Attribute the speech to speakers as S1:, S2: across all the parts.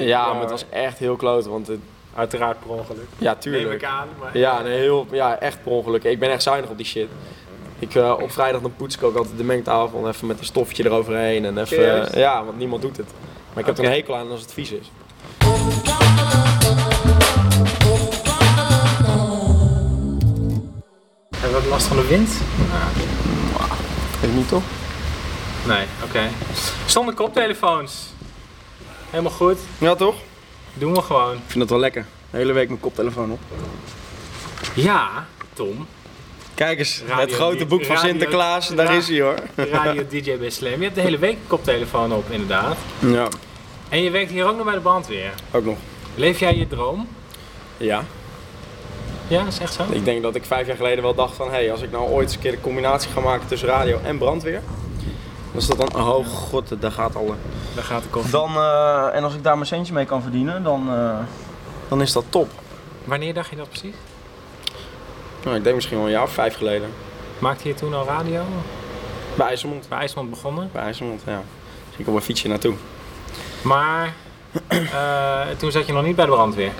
S1: Ja, maar het was echt heel kloot, want het,
S2: Uiteraard per ongeluk.
S1: ja,
S2: Neem ik
S1: tuurlijk.
S2: aan. Maar
S1: Ja, nee, heel, ja, echt per ongeluk. Ik ben echt zuinig op die shit. Ik, eh, op vrijdag dan poets ik ook altijd de mengtafel en even met een stofje eroverheen. En even,
S2: Serieus?
S1: eh, ja, want niemand doet het. Maar ik heb er
S2: Oké.
S1: een hekel aan als het vies is.
S2: Hebben we ook last van de wind?
S1: Weet niet toch?
S2: Nee, oké. Zonder koptelefoons. Helemaal goed.
S1: Ja, toch?
S2: Doen we gewoon.
S1: Ik vind dat wel lekker. De hele week mijn koptelefoon op.
S2: Ja, Tom.
S1: Kijk eens,
S2: Radio
S1: het grote
S2: Diep-
S1: boek van
S2: Radio-
S1: Sinterklaas, daar
S2: Ja.
S1: is hij hoor.
S2: Radio DJ bij Slam. Je hebt de hele week een koptelefoon op, inderdaad.
S1: Ja,
S2: En je werkt hier ook nog bij de brandweer.
S1: ook nog.
S2: Leef jij je droom?
S1: Ja,
S2: Ja, is echt zo.
S1: ik denk dat ik vijf jaar geleden wel dacht van, hé, hey, als ik nou ooit eens een keer de combinatie ga maken tussen radio en brandweer, dan is dat dan, oh god, daar gaat alle.
S2: Daar gaat de koffie.
S1: Dan, eh, en als ik daar mijn centje mee kan verdienen, dan, eh, dan is dat top.
S2: Wanneer dacht je dat precies?
S1: Nou, ik denk misschien wel een jaar of vijf geleden.
S2: Maakte je toen al radio?
S1: Bij IJsselmond.
S2: Bij IJsland begonnen.
S1: Bij IJsselmond, ja. Dus ik op mijn fietsje naartoe.
S2: Maar eh, toen zat je nog niet bij de brandweer.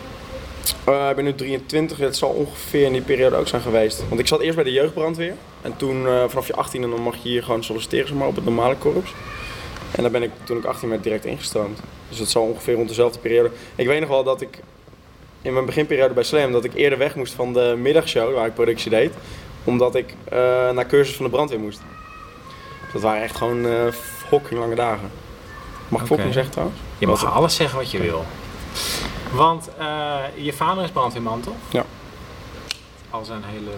S1: Eh, ik ben nu 23, het zal ongeveer in die periode ook zijn geweest. Want ik zat eerst bij de jeugdbrandweer. En toen, eh, vanaf je 18e, dan mag je hier gewoon solliciteren, zeg maar, op het normale korps. En daar ben ik, toen ik 18 werd, direct ingestroomd. Dus het zal ongeveer rond dezelfde periode. Ik weet nog wel dat ik in mijn beginperiode bij Slam, dat ik eerder weg moest van de middagshow, waar ik productie deed. Omdat ik eh, naar cursus van de brandweer moest. Dus dat waren echt gewoon eh fucking lange dagen. Mag ik
S2: Oké.
S1: fucking zeggen trouwens?
S2: Je mag
S1: Wat?
S2: alles zeggen wat je wil. Want eh, je vader is brandweerman, toch?
S1: Ja.
S2: Al zijn hele...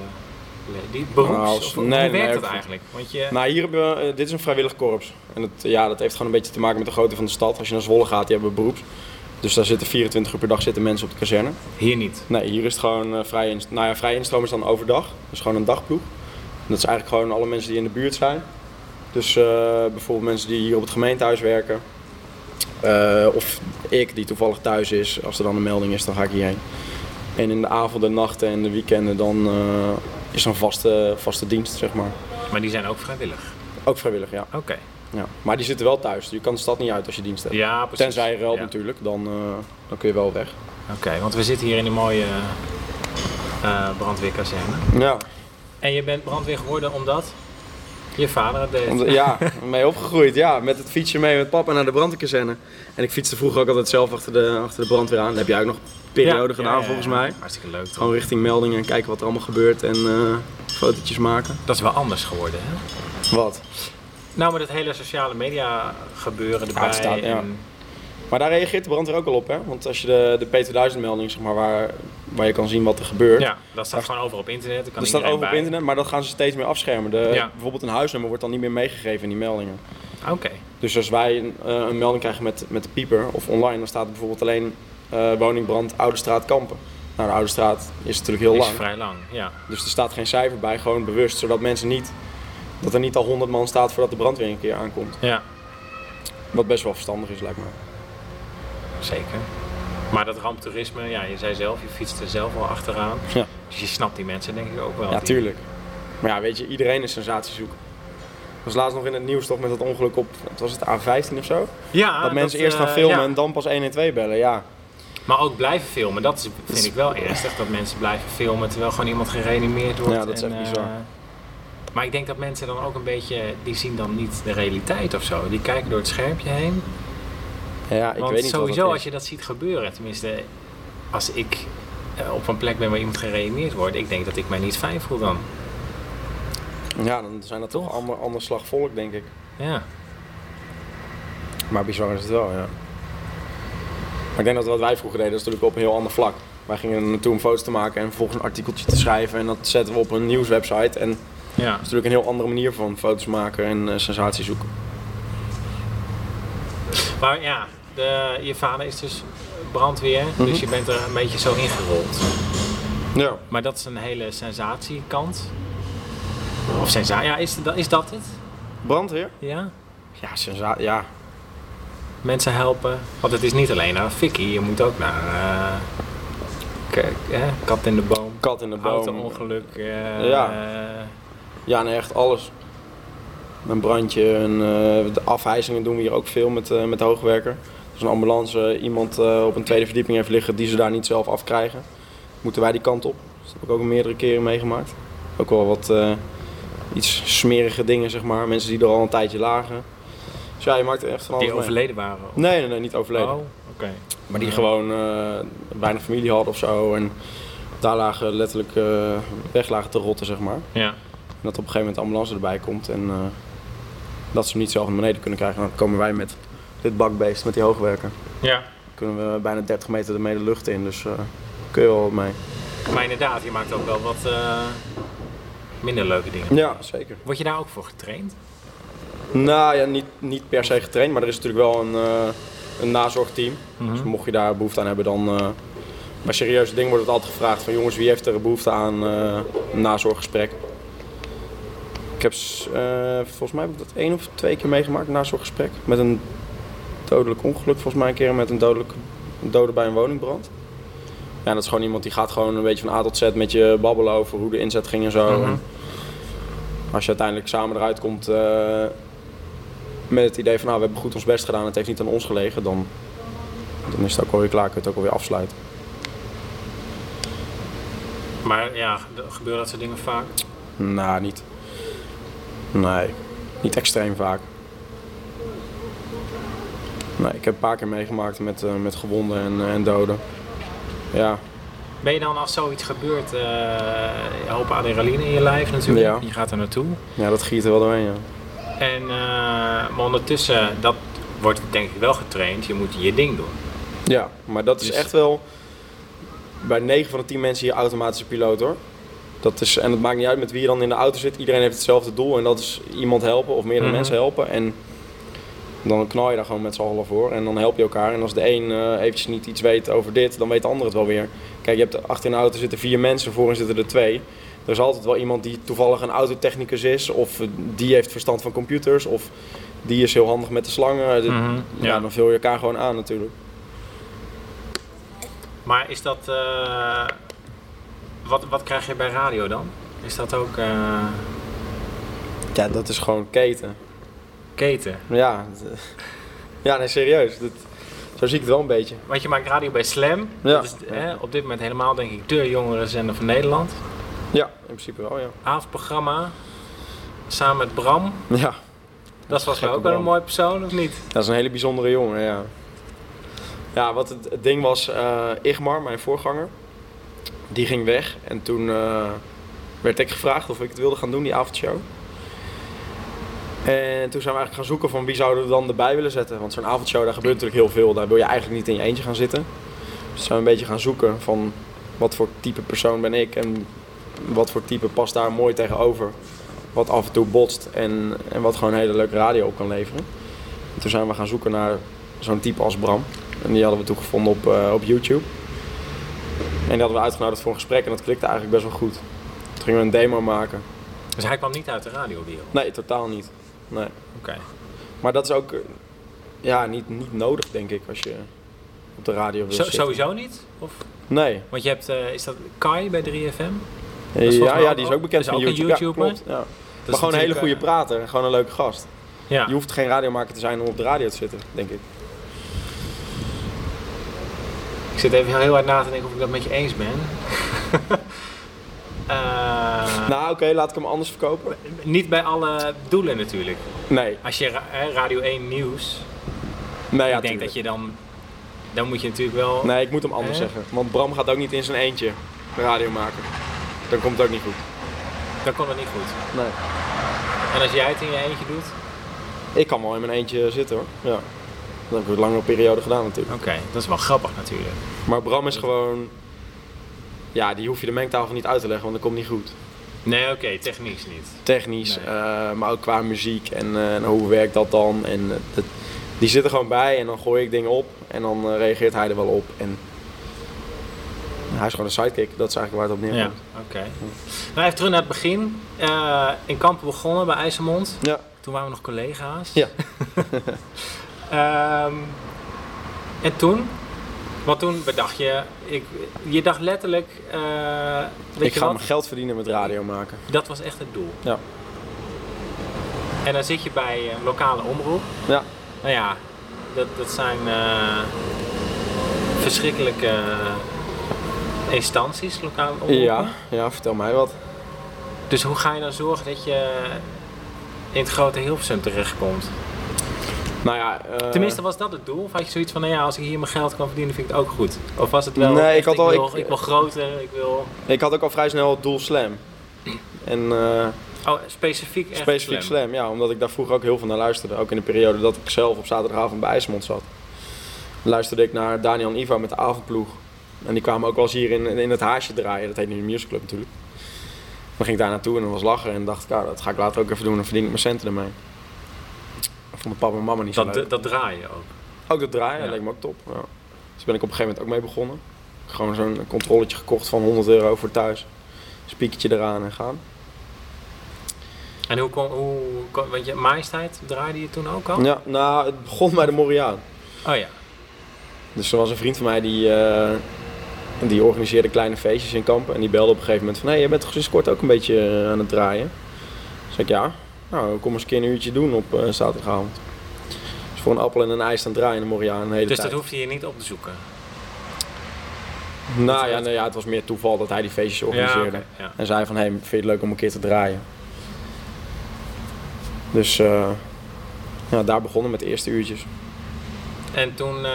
S2: le- Die beroeps...
S1: Nou,
S2: of,
S1: nee,
S2: hoe
S1: nee,
S2: werkt
S1: nee,
S2: dat
S1: ik-
S2: eigenlijk? Want je...
S1: Nou, hier hebben we, eh, dit is een vrijwillig korps. En dat, ja, dat heeft gewoon een beetje te maken met de grootte van de stad. Als je naar Zwolle gaat, die hebben beroeps. Dus daar zitten 24 uur per dag zitten mensen op de kazerne.
S2: Hier niet.
S1: Nee, hier is het gewoon eh, vrij instroom. Nou ja, vrij instroom is dan overdag. Dat is gewoon een dagploeg. En dat is eigenlijk gewoon alle mensen die in de buurt zijn. Dus eh, bijvoorbeeld mensen die hier op het gemeentehuis werken. Eh, of ik die toevallig thuis is. Als er dan een melding is, dan ga ik hierheen. En in de avonden, nachten en de weekenden dan eh, is er een vaste, vaste dienst, zeg maar.
S2: Maar die zijn ook vrijwillig.
S1: Ook vrijwillig, ja.
S2: Oké.
S1: Ja. Maar die zitten wel thuis. Je kan de stad niet uit als je dienst hebt.
S2: Ja, precies.
S1: Tenzij je ruilt
S2: Ja.
S1: natuurlijk, dan, eh, dan kun je wel weg.
S2: Oké, want we zitten hier in een mooie eh brandweerkazerne.
S1: Ja,
S2: En je bent brandweer geworden omdat je vader het deed.
S1: Om- ja mee opgegroeid. Ja, met het fietsje mee met papa naar de brandweerkazerne. En ik fietste vroeger ook altijd zelf achter de, achter de brandweer aan. Dat heb jij ook nog een periode
S2: Ja,
S1: gedaan
S2: ja, ja,
S1: volgens
S2: ja.
S1: mij. Oh.
S2: Hartstikke leuk. toch?
S1: Gewoon richting meldingen en kijken wat er allemaal gebeurt en eh, fotootjes maken.
S2: Dat is wel anders geworden, hè?
S1: Wat?
S2: Nou, maar dat hele sociale media gebeuren erbij.
S1: Ja, het staat- ja.
S2: en-
S1: Maar daar reageert de brandweer ook al op, hè? Want als je de, de P2000-melding, zeg maar, waar, waar je kan zien wat er gebeurt.
S2: ja, dat staat gewoon over op internet. Daar kan
S1: Dat staat
S2: iedereen
S1: over op
S2: bij.
S1: internet, maar dat gaan ze steeds meer afschermen. De,
S2: Ja.
S1: Bijvoorbeeld een huisnummer wordt dan niet meer meegegeven in die meldingen.
S2: Oké.
S1: Dus als wij een, eh, een melding krijgen met, met de pieper of online, dan staat er bijvoorbeeld alleen eh, woningbrand Oude Straat Kampen. Nou, de Oude Straat is natuurlijk heel
S2: Die is
S1: lang,
S2: vrij lang, ja.
S1: dus er staat geen cijfer bij, gewoon bewust, zodat mensen niet, dat er niet al 100 man staat voordat de brandweer een keer aankomt.
S2: Ja,
S1: Wat best wel verstandig is, lijkt me.
S2: zeker. Maar dat ramptoerisme, ja, je zei zelf, je fietst er zelf wel achteraan.
S1: Ja.
S2: Dus je snapt die mensen denk ik ook wel.
S1: Ja,
S2: die-
S1: tuurlijk. Maar ja, weet je, iedereen is sensatiezoeker. Dat was laatst nog in het nieuws toch met dat ongeluk op, wat was het A15 of zo?
S2: Ja,
S1: dat mensen eerst gaan
S2: Ah, eh,
S1: filmen
S2: ja.
S1: en dan pas 112 bellen, ja.
S2: Maar ook blijven filmen, dat is- vind ik wel ernstig. Dat mensen blijven filmen terwijl gewoon iemand gereanimeerd wordt.
S1: Ja, dat is
S2: en,
S1: echt bizar.
S2: eh, maar ik denk dat mensen dan ook een beetje, die zien dan niet de realiteit of zo. Die kijken door het schermpje heen.
S1: Ja, ik
S2: Want
S1: weet niet wat dat
S2: sowieso
S1: is.
S2: als je dat ziet gebeuren, tenminste als ik eh, op een plek ben waar iemand gereanimeerd wordt, ik denk dat ik mij niet fijn voel dan.
S1: Ja, dan zijn dat toch
S2: Toch?
S1: allemaal ander slag volk, denk ik.
S2: Ja.
S1: Maar bizar is het wel, ja. Maar ik denk dat wat wij vroeger deden, dat is natuurlijk op een heel ander vlak. Wij gingen er naartoe om foto's te maken en vervolgens een artikeltje te schrijven. En dat zetten we op een nieuwswebsite. En dat is
S2: ja.
S1: natuurlijk een heel andere manier van foto's maken en eh, sensatie zoeken.
S2: Maar ja, de, je vader is dus brandweer,
S1: Mhm.
S2: dus je bent er een beetje zo ingerold.
S1: Ja.
S2: Maar dat is een hele sensatiekant. Of sensatie, ja, is, dat- is dat het?
S1: Brandweer?
S2: Ja?
S1: Ja, sensatie. Ja.
S2: Mensen helpen. Want het is niet alleen naar fikkie, je moet ook naar eh, k- eh, kat in de boom,
S1: Kat in de boom.
S2: auto-ongeluk. eh,
S1: Ja.
S2: eh,
S1: Ja, nee, echt alles. Een brandje, een, eh, de afhijzingen doen we hier ook veel met, eh, met de hoogwerker. Dus een ambulance iemand eh, op een tweede verdieping heeft liggen die ze daar niet zelf afkrijgen. Moeten wij die kant op. Dus dat heb ik ook meerdere keren meegemaakt. Ook wel wat eh, iets smerige dingen, zeg maar. Mensen die er al een tijdje lagen. Dus ja, je maakt er echt van alles
S2: Die
S1: mee.
S2: overleden waren? of-
S1: Nee, nee, nee, niet overleden.
S2: Oh, oké.
S1: Maar die
S2: Ja.
S1: gewoon eh, weinig familie hadden of zo. En daar lagen letterlijk eh, weg lagen te rotten, zeg maar.
S2: Ja.
S1: En dat op een gegeven moment de ambulance erbij komt en eh, dat ze hem niet zelf naar beneden kunnen krijgen. Dan komen wij met dit bakbeest, met die hoogwerker.
S2: ja.
S1: Kunnen we bijna 30 meter ermee de lucht in, dus eh kun je wel wat mee.
S2: Maar inderdaad, je maakt ook wel wat eh, minder leuke dingen.
S1: Ja, zeker.
S2: Word je daar ook voor getraind?
S1: Nou ja, niet, niet per se getraind, maar er is natuurlijk wel een, eh, een nazorgteam. Dus
S2: Mhm.
S1: mocht je daar behoefte aan hebben, dan... eh, bij serieuze dingen wordt het altijd gevraagd van jongens, wie heeft er behoefte aan eh, een nazorggesprek? Ik heb, s- eh, volgens mij heb ik dat één of twee keer meegemaakt, een nazorggesprek. Met een dodelijk ongeluk, volgens mij een keer met een, dodelijk, een dode bij een woningbrand. Ja, dat is gewoon iemand die gaat gewoon een beetje van A tot Z met je babbelen over hoe de inzet ging en zo.
S2: Mhm.
S1: En als je uiteindelijk samen eruit komt eh, met het idee van nou, we hebben goed ons best gedaan, het heeft niet aan ons gelegen, dan, dan is het ook alweer klaar, kun je het ook alweer afsluiten.
S2: Maar ja, d- gebeuren dat soort dingen vaak?
S1: Nou, niet. Nee, niet extreem vaak. Nee, ik heb een paar keer meegemaakt met, eh, met gewonden en, eh, en doden. Ja,
S2: Ben je dan als zoiets gebeurt, eh, een hoop adrenaline in je lijf natuurlijk,
S1: Ja.
S2: je gaat er naartoe.
S1: ja, dat giet er wel doorheen, ja.
S2: En eh, maar ondertussen, dat wordt denk ik wel getraind, je moet je ding doen.
S1: Ja, maar dat is
S2: Dus-
S1: echt wel... Bij 9 van de 10 mensen hier automatische piloot, hoor. Dat is, en het maakt niet uit met wie je dan in de auto zit. Iedereen heeft hetzelfde doel en dat is iemand helpen of meerdere
S2: Mhm.
S1: mensen helpen. En dan knal je daar gewoon met z'n allen voor en dan help je elkaar. En als de een eh, eventjes niet iets weet over dit, dan weet de ander het wel weer. Kijk, je hebt achter in de auto zitten vier mensen, voorin zitten er twee. Er is altijd wel iemand die toevallig een autotechnicus is of eh, die heeft verstand van computers of die is heel handig met de slangen. De-
S2: Mhm,
S1: ja.
S2: ja.
S1: dan vul je elkaar gewoon aan natuurlijk.
S2: Maar is dat, eh, wat, wat krijg je bij radio dan? Is dat ook eh,
S1: Ja, dat is gewoon keten.
S2: keten?
S1: Ja, d- ja nee, serieus. Dat, zo zie ik het wel een beetje.
S2: Want je maakt radio bij Slam,
S1: Ja.
S2: dat is hè, op dit moment helemaal denk ik de jongere zender van Nederland.
S1: Ja, in principe wel, ja.
S2: avondprogramma samen met Bram.
S1: Ja,
S2: Dat was wel
S1: Gekke
S2: ook wel een
S1: Bram.
S2: mooi persoon, of niet?
S1: dat is een hele bijzondere jongen, ja. Ja, wat het, het ding was, eh Igmar, mijn voorganger, die ging weg. En toen eh, werd ik gevraagd of ik het wilde gaan doen, die avondshow. En toen zijn we eigenlijk gaan zoeken van wie zouden we dan erbij willen zetten. Want zo'n avondshow, daar gebeurt natuurlijk heel veel. Daar wil je eigenlijk niet in je eentje gaan zitten. Dus zijn we een beetje gaan zoeken van wat voor type persoon ben ik en wat voor type past daar mooi tegenover. Wat af en toe botst en, en wat gewoon een hele leuke radio op kan leveren. En toen zijn we gaan zoeken naar zo'n type als Bram. En die hadden we toen gevonden op, eh, op YouTube. En die hadden we uitgenodigd voor een gesprek en dat klikte eigenlijk best wel goed. Toen gingen we een demo maken.
S2: Dus hij kwam niet uit de radiowereld.
S1: Nee, totaal niet. Nee.
S2: Oké.
S1: Maar dat is ook eh, ja, niet, niet nodig, denk ik, als je op de radio wil
S2: Zo-
S1: zitten.
S2: sowieso niet? Of,
S1: Nee.
S2: want je hebt, eh, is dat Kai bij 3FM? volgens
S1: Ja,
S2: mij
S1: ja,
S2: ook-
S1: die is ook bekend
S2: is
S1: van
S2: ook een
S1: YouTube.
S2: YouTuber.
S1: Ja, klopt. Ja.
S2: Dat
S1: Maar
S2: is
S1: gewoon een hele
S2: natuurlijk,
S1: goede
S2: eh,
S1: prater en gewoon een leuke gast.
S2: Ja.
S1: Je hoeft geen radiomaker te zijn om op de radio te zitten, denk ik.
S2: Ik zit even heel hard na te denken of ik dat met je eens ben. Eh,
S1: Nou, oké, laat ik hem anders verkopen.
S2: Niet bij alle doelen natuurlijk.
S1: Nee,
S2: Als je ra- eh, Radio 1 nieuws,
S1: nee, ja,
S2: ik denk
S1: tuurlijk.
S2: dat je dan, dan moet je natuurlijk wel...
S1: Nee, ik moet hem anders
S2: Eh?
S1: zeggen. Want Bram gaat ook niet in zijn eentje radio maken. Dan komt het ook niet goed.
S2: Dan komt het niet goed.
S1: Nee.
S2: En als jij het in je eentje doet?
S1: Ik kan wel in mijn eentje zitten hoor. Ja. Dat heb ik een langere periode gedaan natuurlijk.
S2: Oké, dat is wel grappig natuurlijk.
S1: Maar Bram is gewoon... Ja, die hoef je de mengtafel niet uit te leggen, want dat komt niet goed.
S2: Nee, oké, technisch niet.
S1: Technisch,
S2: Nee.
S1: eh, maar ook qua muziek en eh, en hoe werkt dat dan. En eh, dat- die zit er gewoon bij en dan gooi ik dingen op en dan eh, reageert hij er wel op. En hij is gewoon een sidekick, dat is eigenlijk waar het op
S2: Ja,
S1: neerkomt.
S2: oké. Nou, even terug naar het begin. Eh, in Kampen begonnen bij IJsselmond.
S1: Ja.
S2: Toen waren we nog collega's.
S1: Ja.
S2: Ehm, en toen? Want toen bedacht je, ik, je dacht letterlijk, eh, weet
S1: Ik
S2: je
S1: ga
S2: wat?
S1: mijn geld verdienen met radio maken.
S2: Dat was echt het doel.
S1: Ja.
S2: En dan zit je bij een lokale omroep.
S1: Ja.
S2: Nou ja, dat, dat zijn eh, verschrikkelijke eh, instanties, lokaal omroepen.
S1: Ja, ja, vertel mij wat.
S2: Dus hoe ga je dan zorgen dat je in het grote Hilversum terechtkomt?
S1: Nou ja, eh,
S2: Tenminste, was dat het doel? Of had je zoiets van, nou ja, als ik hier mijn geld kan verdienen, vind ik het ook goed? Of was het wel,
S1: Nee, ik
S2: echt,
S1: had al-
S2: wil,
S1: ik-
S2: ik, wil groter, ik wil...
S1: ik had ook al vrij snel het doel slam. En eh,
S2: Oh, specifiek echt
S1: specifiek
S2: slim.
S1: slam. ja, omdat ik daar vroeger ook heel veel naar luisterde. Ook in de periode dat ik zelf op zaterdagavond bij IJsmond zat. Luisterde ik naar Daniel en Ivo met de avondploeg. En die kwamen ook wel eens hier in, in het haasje draaien. Dat heet nu de Music Club natuurlijk. Dan ging ik daar naartoe en dan was lachen. En dacht ik, nou, dat ga ik later ook even doen. Dan verdien ik mijn centen ermee. Dat vonden papa en mama niet zo leuk.
S2: Dat, dat draai je ook.
S1: Ook dat draaien, dat
S2: Ja.
S1: leek me ook top. Ja. Dus ben ik op een gegeven moment ook mee begonnen. Gewoon zo'n controletje gekocht van 100 euro voor thuis. Spiekertje eraan en gaan.
S2: En hoe kon, hoe kon- want je majesteit draaide je toen ook al?
S1: Ja, nou, het begon bij de Moriaan.
S2: Oh ja.
S1: Dus er was een vriend van mij die, eh, die organiseerde kleine feestjes in kampen. En die belde op een gegeven moment van, hé, hey, jij bent toch sinds kort ook een beetje eh, aan het draaien? Dus ik, ja, nou, kom eens een keer een uurtje doen op eh, zaterdagavond. Dus voor een appel en een ijs aan het draaien in de Moriaan een hele
S2: Dus
S1: tijd.
S2: dat hoefde je niet op te zoeken?
S1: Nou ja, nou ja, het was meer toeval dat hij die feestjes organiseerde.
S2: oké, ja.
S1: En zei van, hey, vind je het leuk om een keer te draaien? Dus eh, ja, daar begonnen met de eerste uurtjes.
S2: En toen, eh,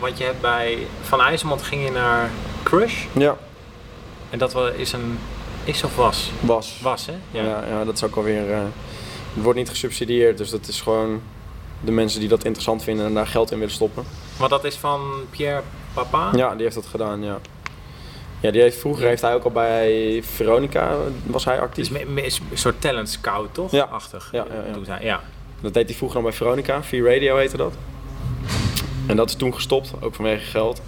S2: want je hebt bij Van IJsselmond ging je naar Crush.
S1: Ja,
S2: En dat wa- is een, is of was?
S1: was.
S2: Was hè?
S1: Ja. Ja, dat is ook alweer... eh, het wordt niet gesubsidieerd, dus dat is gewoon de mensen die dat interessant vinden en daar geld in willen stoppen.
S2: Maar dat is van Pierre Papa?
S1: Ja, die heeft dat gedaan, ja. Ja, die heeft, vroeger heeft hij ook al bij Veronica, was hij
S2: Het is
S1: actief.
S2: me- me- is een soort talent scout toch?
S1: Ja.
S2: Achtig.
S1: Ja, ja, ja.
S2: Doet hij. ja.
S1: Dat deed hij vroeger dan bij Veronica, V-Radio heette dat. En dat is toen gestopt, ook vanwege geld.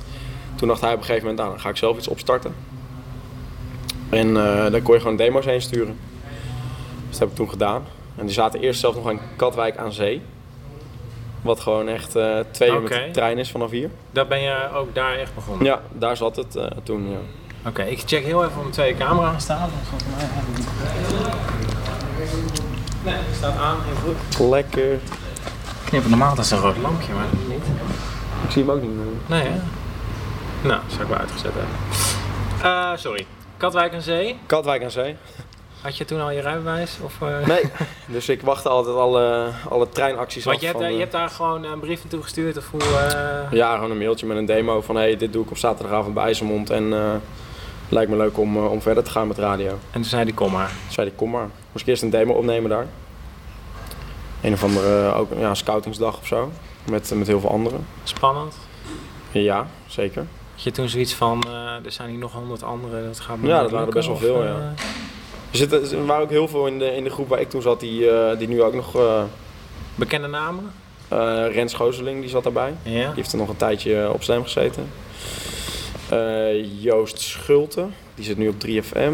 S1: Toen dacht hij op een gegeven moment, nou, dan ga ik zelf iets opstarten. En eh, daar kon je gewoon demo's heen sturen. Dus dat heb ik toen gedaan. En die zaten eerst zelf nog aan Katwijk aan Zee. Wat gewoon echt eh, twee uur met
S2: Oké.
S1: de trein is vanaf hier.
S2: Daar ben je ook daar echt begonnen?
S1: Ja, daar zat het eh, toen. Ja.
S2: Oké, ik check heel even of mijn tweede camera aan staat. want volgens mij- Nee, het staat aan en goed.
S1: Lekker.
S2: Knippen normaal, dat is een rood lampje, maar dat niet.
S1: Ik zie hem ook niet meer.
S2: Nee, hè? Nou, zou ik wel uitgezet hebben. Eh, sorry. Katwijk en Zee.
S1: Katwijk aan Zee.
S2: Had je toen al je rijbewijs? Of, eh?
S1: Nee. dus ik wachtte altijd alle, alle treinacties
S2: Want
S1: af
S2: je hebt,
S1: van,
S2: daar- je
S1: eh,
S2: hebt daar gewoon een brief naartoe gestuurd of hoe... eh,
S1: Ja, gewoon een mailtje met een demo van hey, dit doe ik op zaterdagavond bij IJsselmond en eh, lijkt me leuk om, eh, om verder te gaan met radio.
S2: En toen zei die kom maar.
S1: Toen zei ik kom maar. Moest ik eerst een demo opnemen daar. Een of andere eh, ook, ja, scoutingsdag of zo. Met, met heel veel anderen.
S2: Spannend.
S1: Ja, zeker.
S2: Had je toen zoiets van, eh, er zijn hier nog honderd anderen, dat gaat me
S1: Ja,
S2: nooit
S1: dat waren er
S2: lukken,
S1: best wel
S2: of,
S1: veel, ja.
S2: eh,
S1: Er, zitten, er waren ook heel veel in de, in de groep waar ik toen zat die, eh, die nu ook nog... eh
S2: Bekende namen?
S1: eh, Rens Gooseling die zat daarbij.
S2: Ja.
S1: Die heeft er nog een tijdje eh, op slam gezeten. Eh, Joost Schulte, die zit nu op 3FM.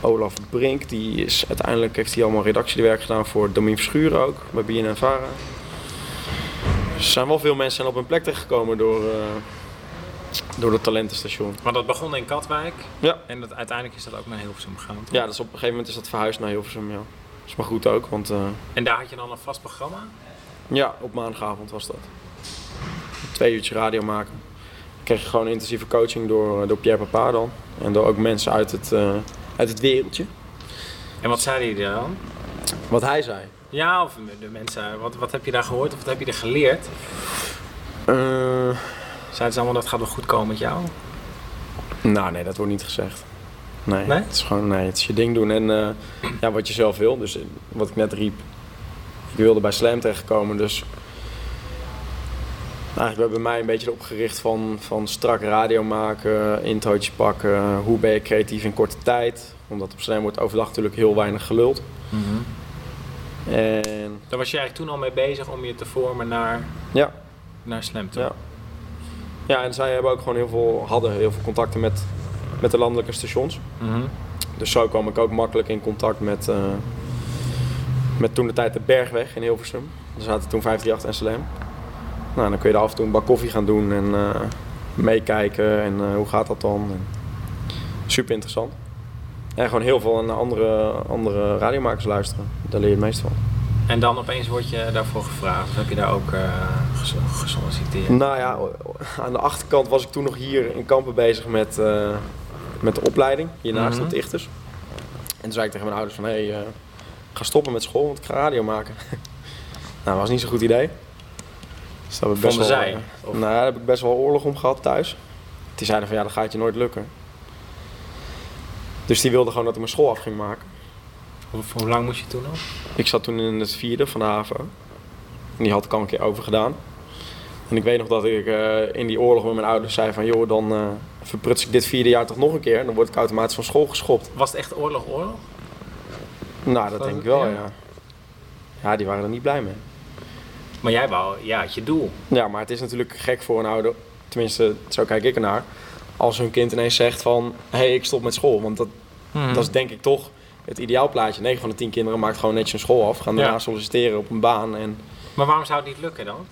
S1: Olaf Brink, die is uiteindelijk heeft hij allemaal redactiewerk gedaan voor Domien Verschuren ook, bij BNN Vara. Er zijn wel veel mensen op hun plek terechtgekomen door, eh, door het talentenstation.
S2: Maar dat begon in Katwijk.
S1: Ja.
S2: En dat, uiteindelijk is dat ook naar Hilversum gegaan. toch?
S1: Ja, dus op een gegeven moment is dat verhuisd naar Hilversum. Ja. is maar goed ook, want eh,
S2: En daar had je dan een vast programma?
S1: Ja, op maandagavond was dat. Twee uurtjes radio maken. Ik kreeg gewoon intensieve coaching door, eh, door Pierre Papa dan. En door ook mensen uit het, eh, uit het wereldje.
S2: En wat zei hij dan?
S1: Wat hij zei.
S2: Ja, of de mensen, wat, wat heb je daar gehoord of wat heb je er geleerd?
S1: Eh,
S2: Zeiden ze allemaal dat gaat wel goed komen met jou?
S1: nou nee, dat wordt niet gezegd. Nee,
S2: Nee?
S1: het is gewoon nee, het is je ding doen en eh, ja, wat je zelf wil. Dus eh, wat ik net riep, ik wilde bij Slam terechtkomen, dus eigenlijk werd bij mij een beetje erop gericht van, van strak radio maken, introotje pakken, hoe ben je creatief in korte tijd. Omdat op Slam wordt overdag natuurlijk heel weinig geluld. Mhm. En
S2: Daar was je eigenlijk toen al mee bezig om je te vormen naar,
S1: ja,
S2: naar Slam toe.
S1: Ja. ja en zij hebben ook gewoon heel veel, hadden heel veel contacten met, met de landelijke stations.
S2: Mhm.
S1: Dus zo kwam ik ook makkelijk in contact met, eh, met toen de tijd de Bergweg in Hilversum. Daar zaten toen 538 en Slam. Nou, dan kun je daar af en toe een bak koffie gaan doen en eh, meekijken en eh, hoe gaat dat dan. En super interessant. En gewoon heel veel aan andere, andere radiomakers luisteren. Daar leer je het meest van.
S2: En dan opeens word je daarvoor gevraagd. Of heb je daar ook eh, ges- gesolliciteerd?
S1: Nou ja, o- o- aan de achterkant was ik toen nog hier in Kampen bezig met, eh, met de opleiding. Hiernaast
S2: Mhm.
S1: op de Ichters. En toen zei ik tegen mijn ouders van, hé, hey, eh, ga stoppen met school, want ik ga radio maken. nou, was niet zo'n goed idee. Dus dat heb ik best
S2: Vonden
S1: wel,
S2: zij?
S1: eh,
S2: Of-
S1: nou, daar heb ik best wel oorlog om gehad thuis. Die zeiden van, ja, dat gaat je nooit lukken. Dus die wilden gewoon dat ik mijn school af ging maken.
S2: Hoe, hoe lang moest je toen nog?
S1: Ik zat toen in het vierde van de haven. En die had ik al een keer over gedaan. En ik weet nog dat ik eh, in die oorlog met mijn ouders zei van... joh, dan eh, verpruts ik dit vierde jaar toch nog een keer... en dan word ik automatisch van school geschopt.
S2: Was het echt oorlog, oorlog?
S1: Nou, dat
S2: Was
S1: denk ik
S2: het-
S1: wel,
S2: ja?
S1: ja. ja. die waren er niet blij mee.
S2: Maar jij wou, ja, het je doel.
S1: Ja, maar het is natuurlijk gek voor een ouder... tenminste, zo kijk ik ernaar... als hun kind ineens zegt van... hé, hey, ik stop met school. Want dat,
S2: Hmm.
S1: dat is denk ik toch het ideaalplaatje. 9 van de 10 kinderen maakt gewoon netjes hun school af... gaan
S2: Ja.
S1: daarna solliciteren op een baan en...
S2: Maar waarom zou het niet lukken dan?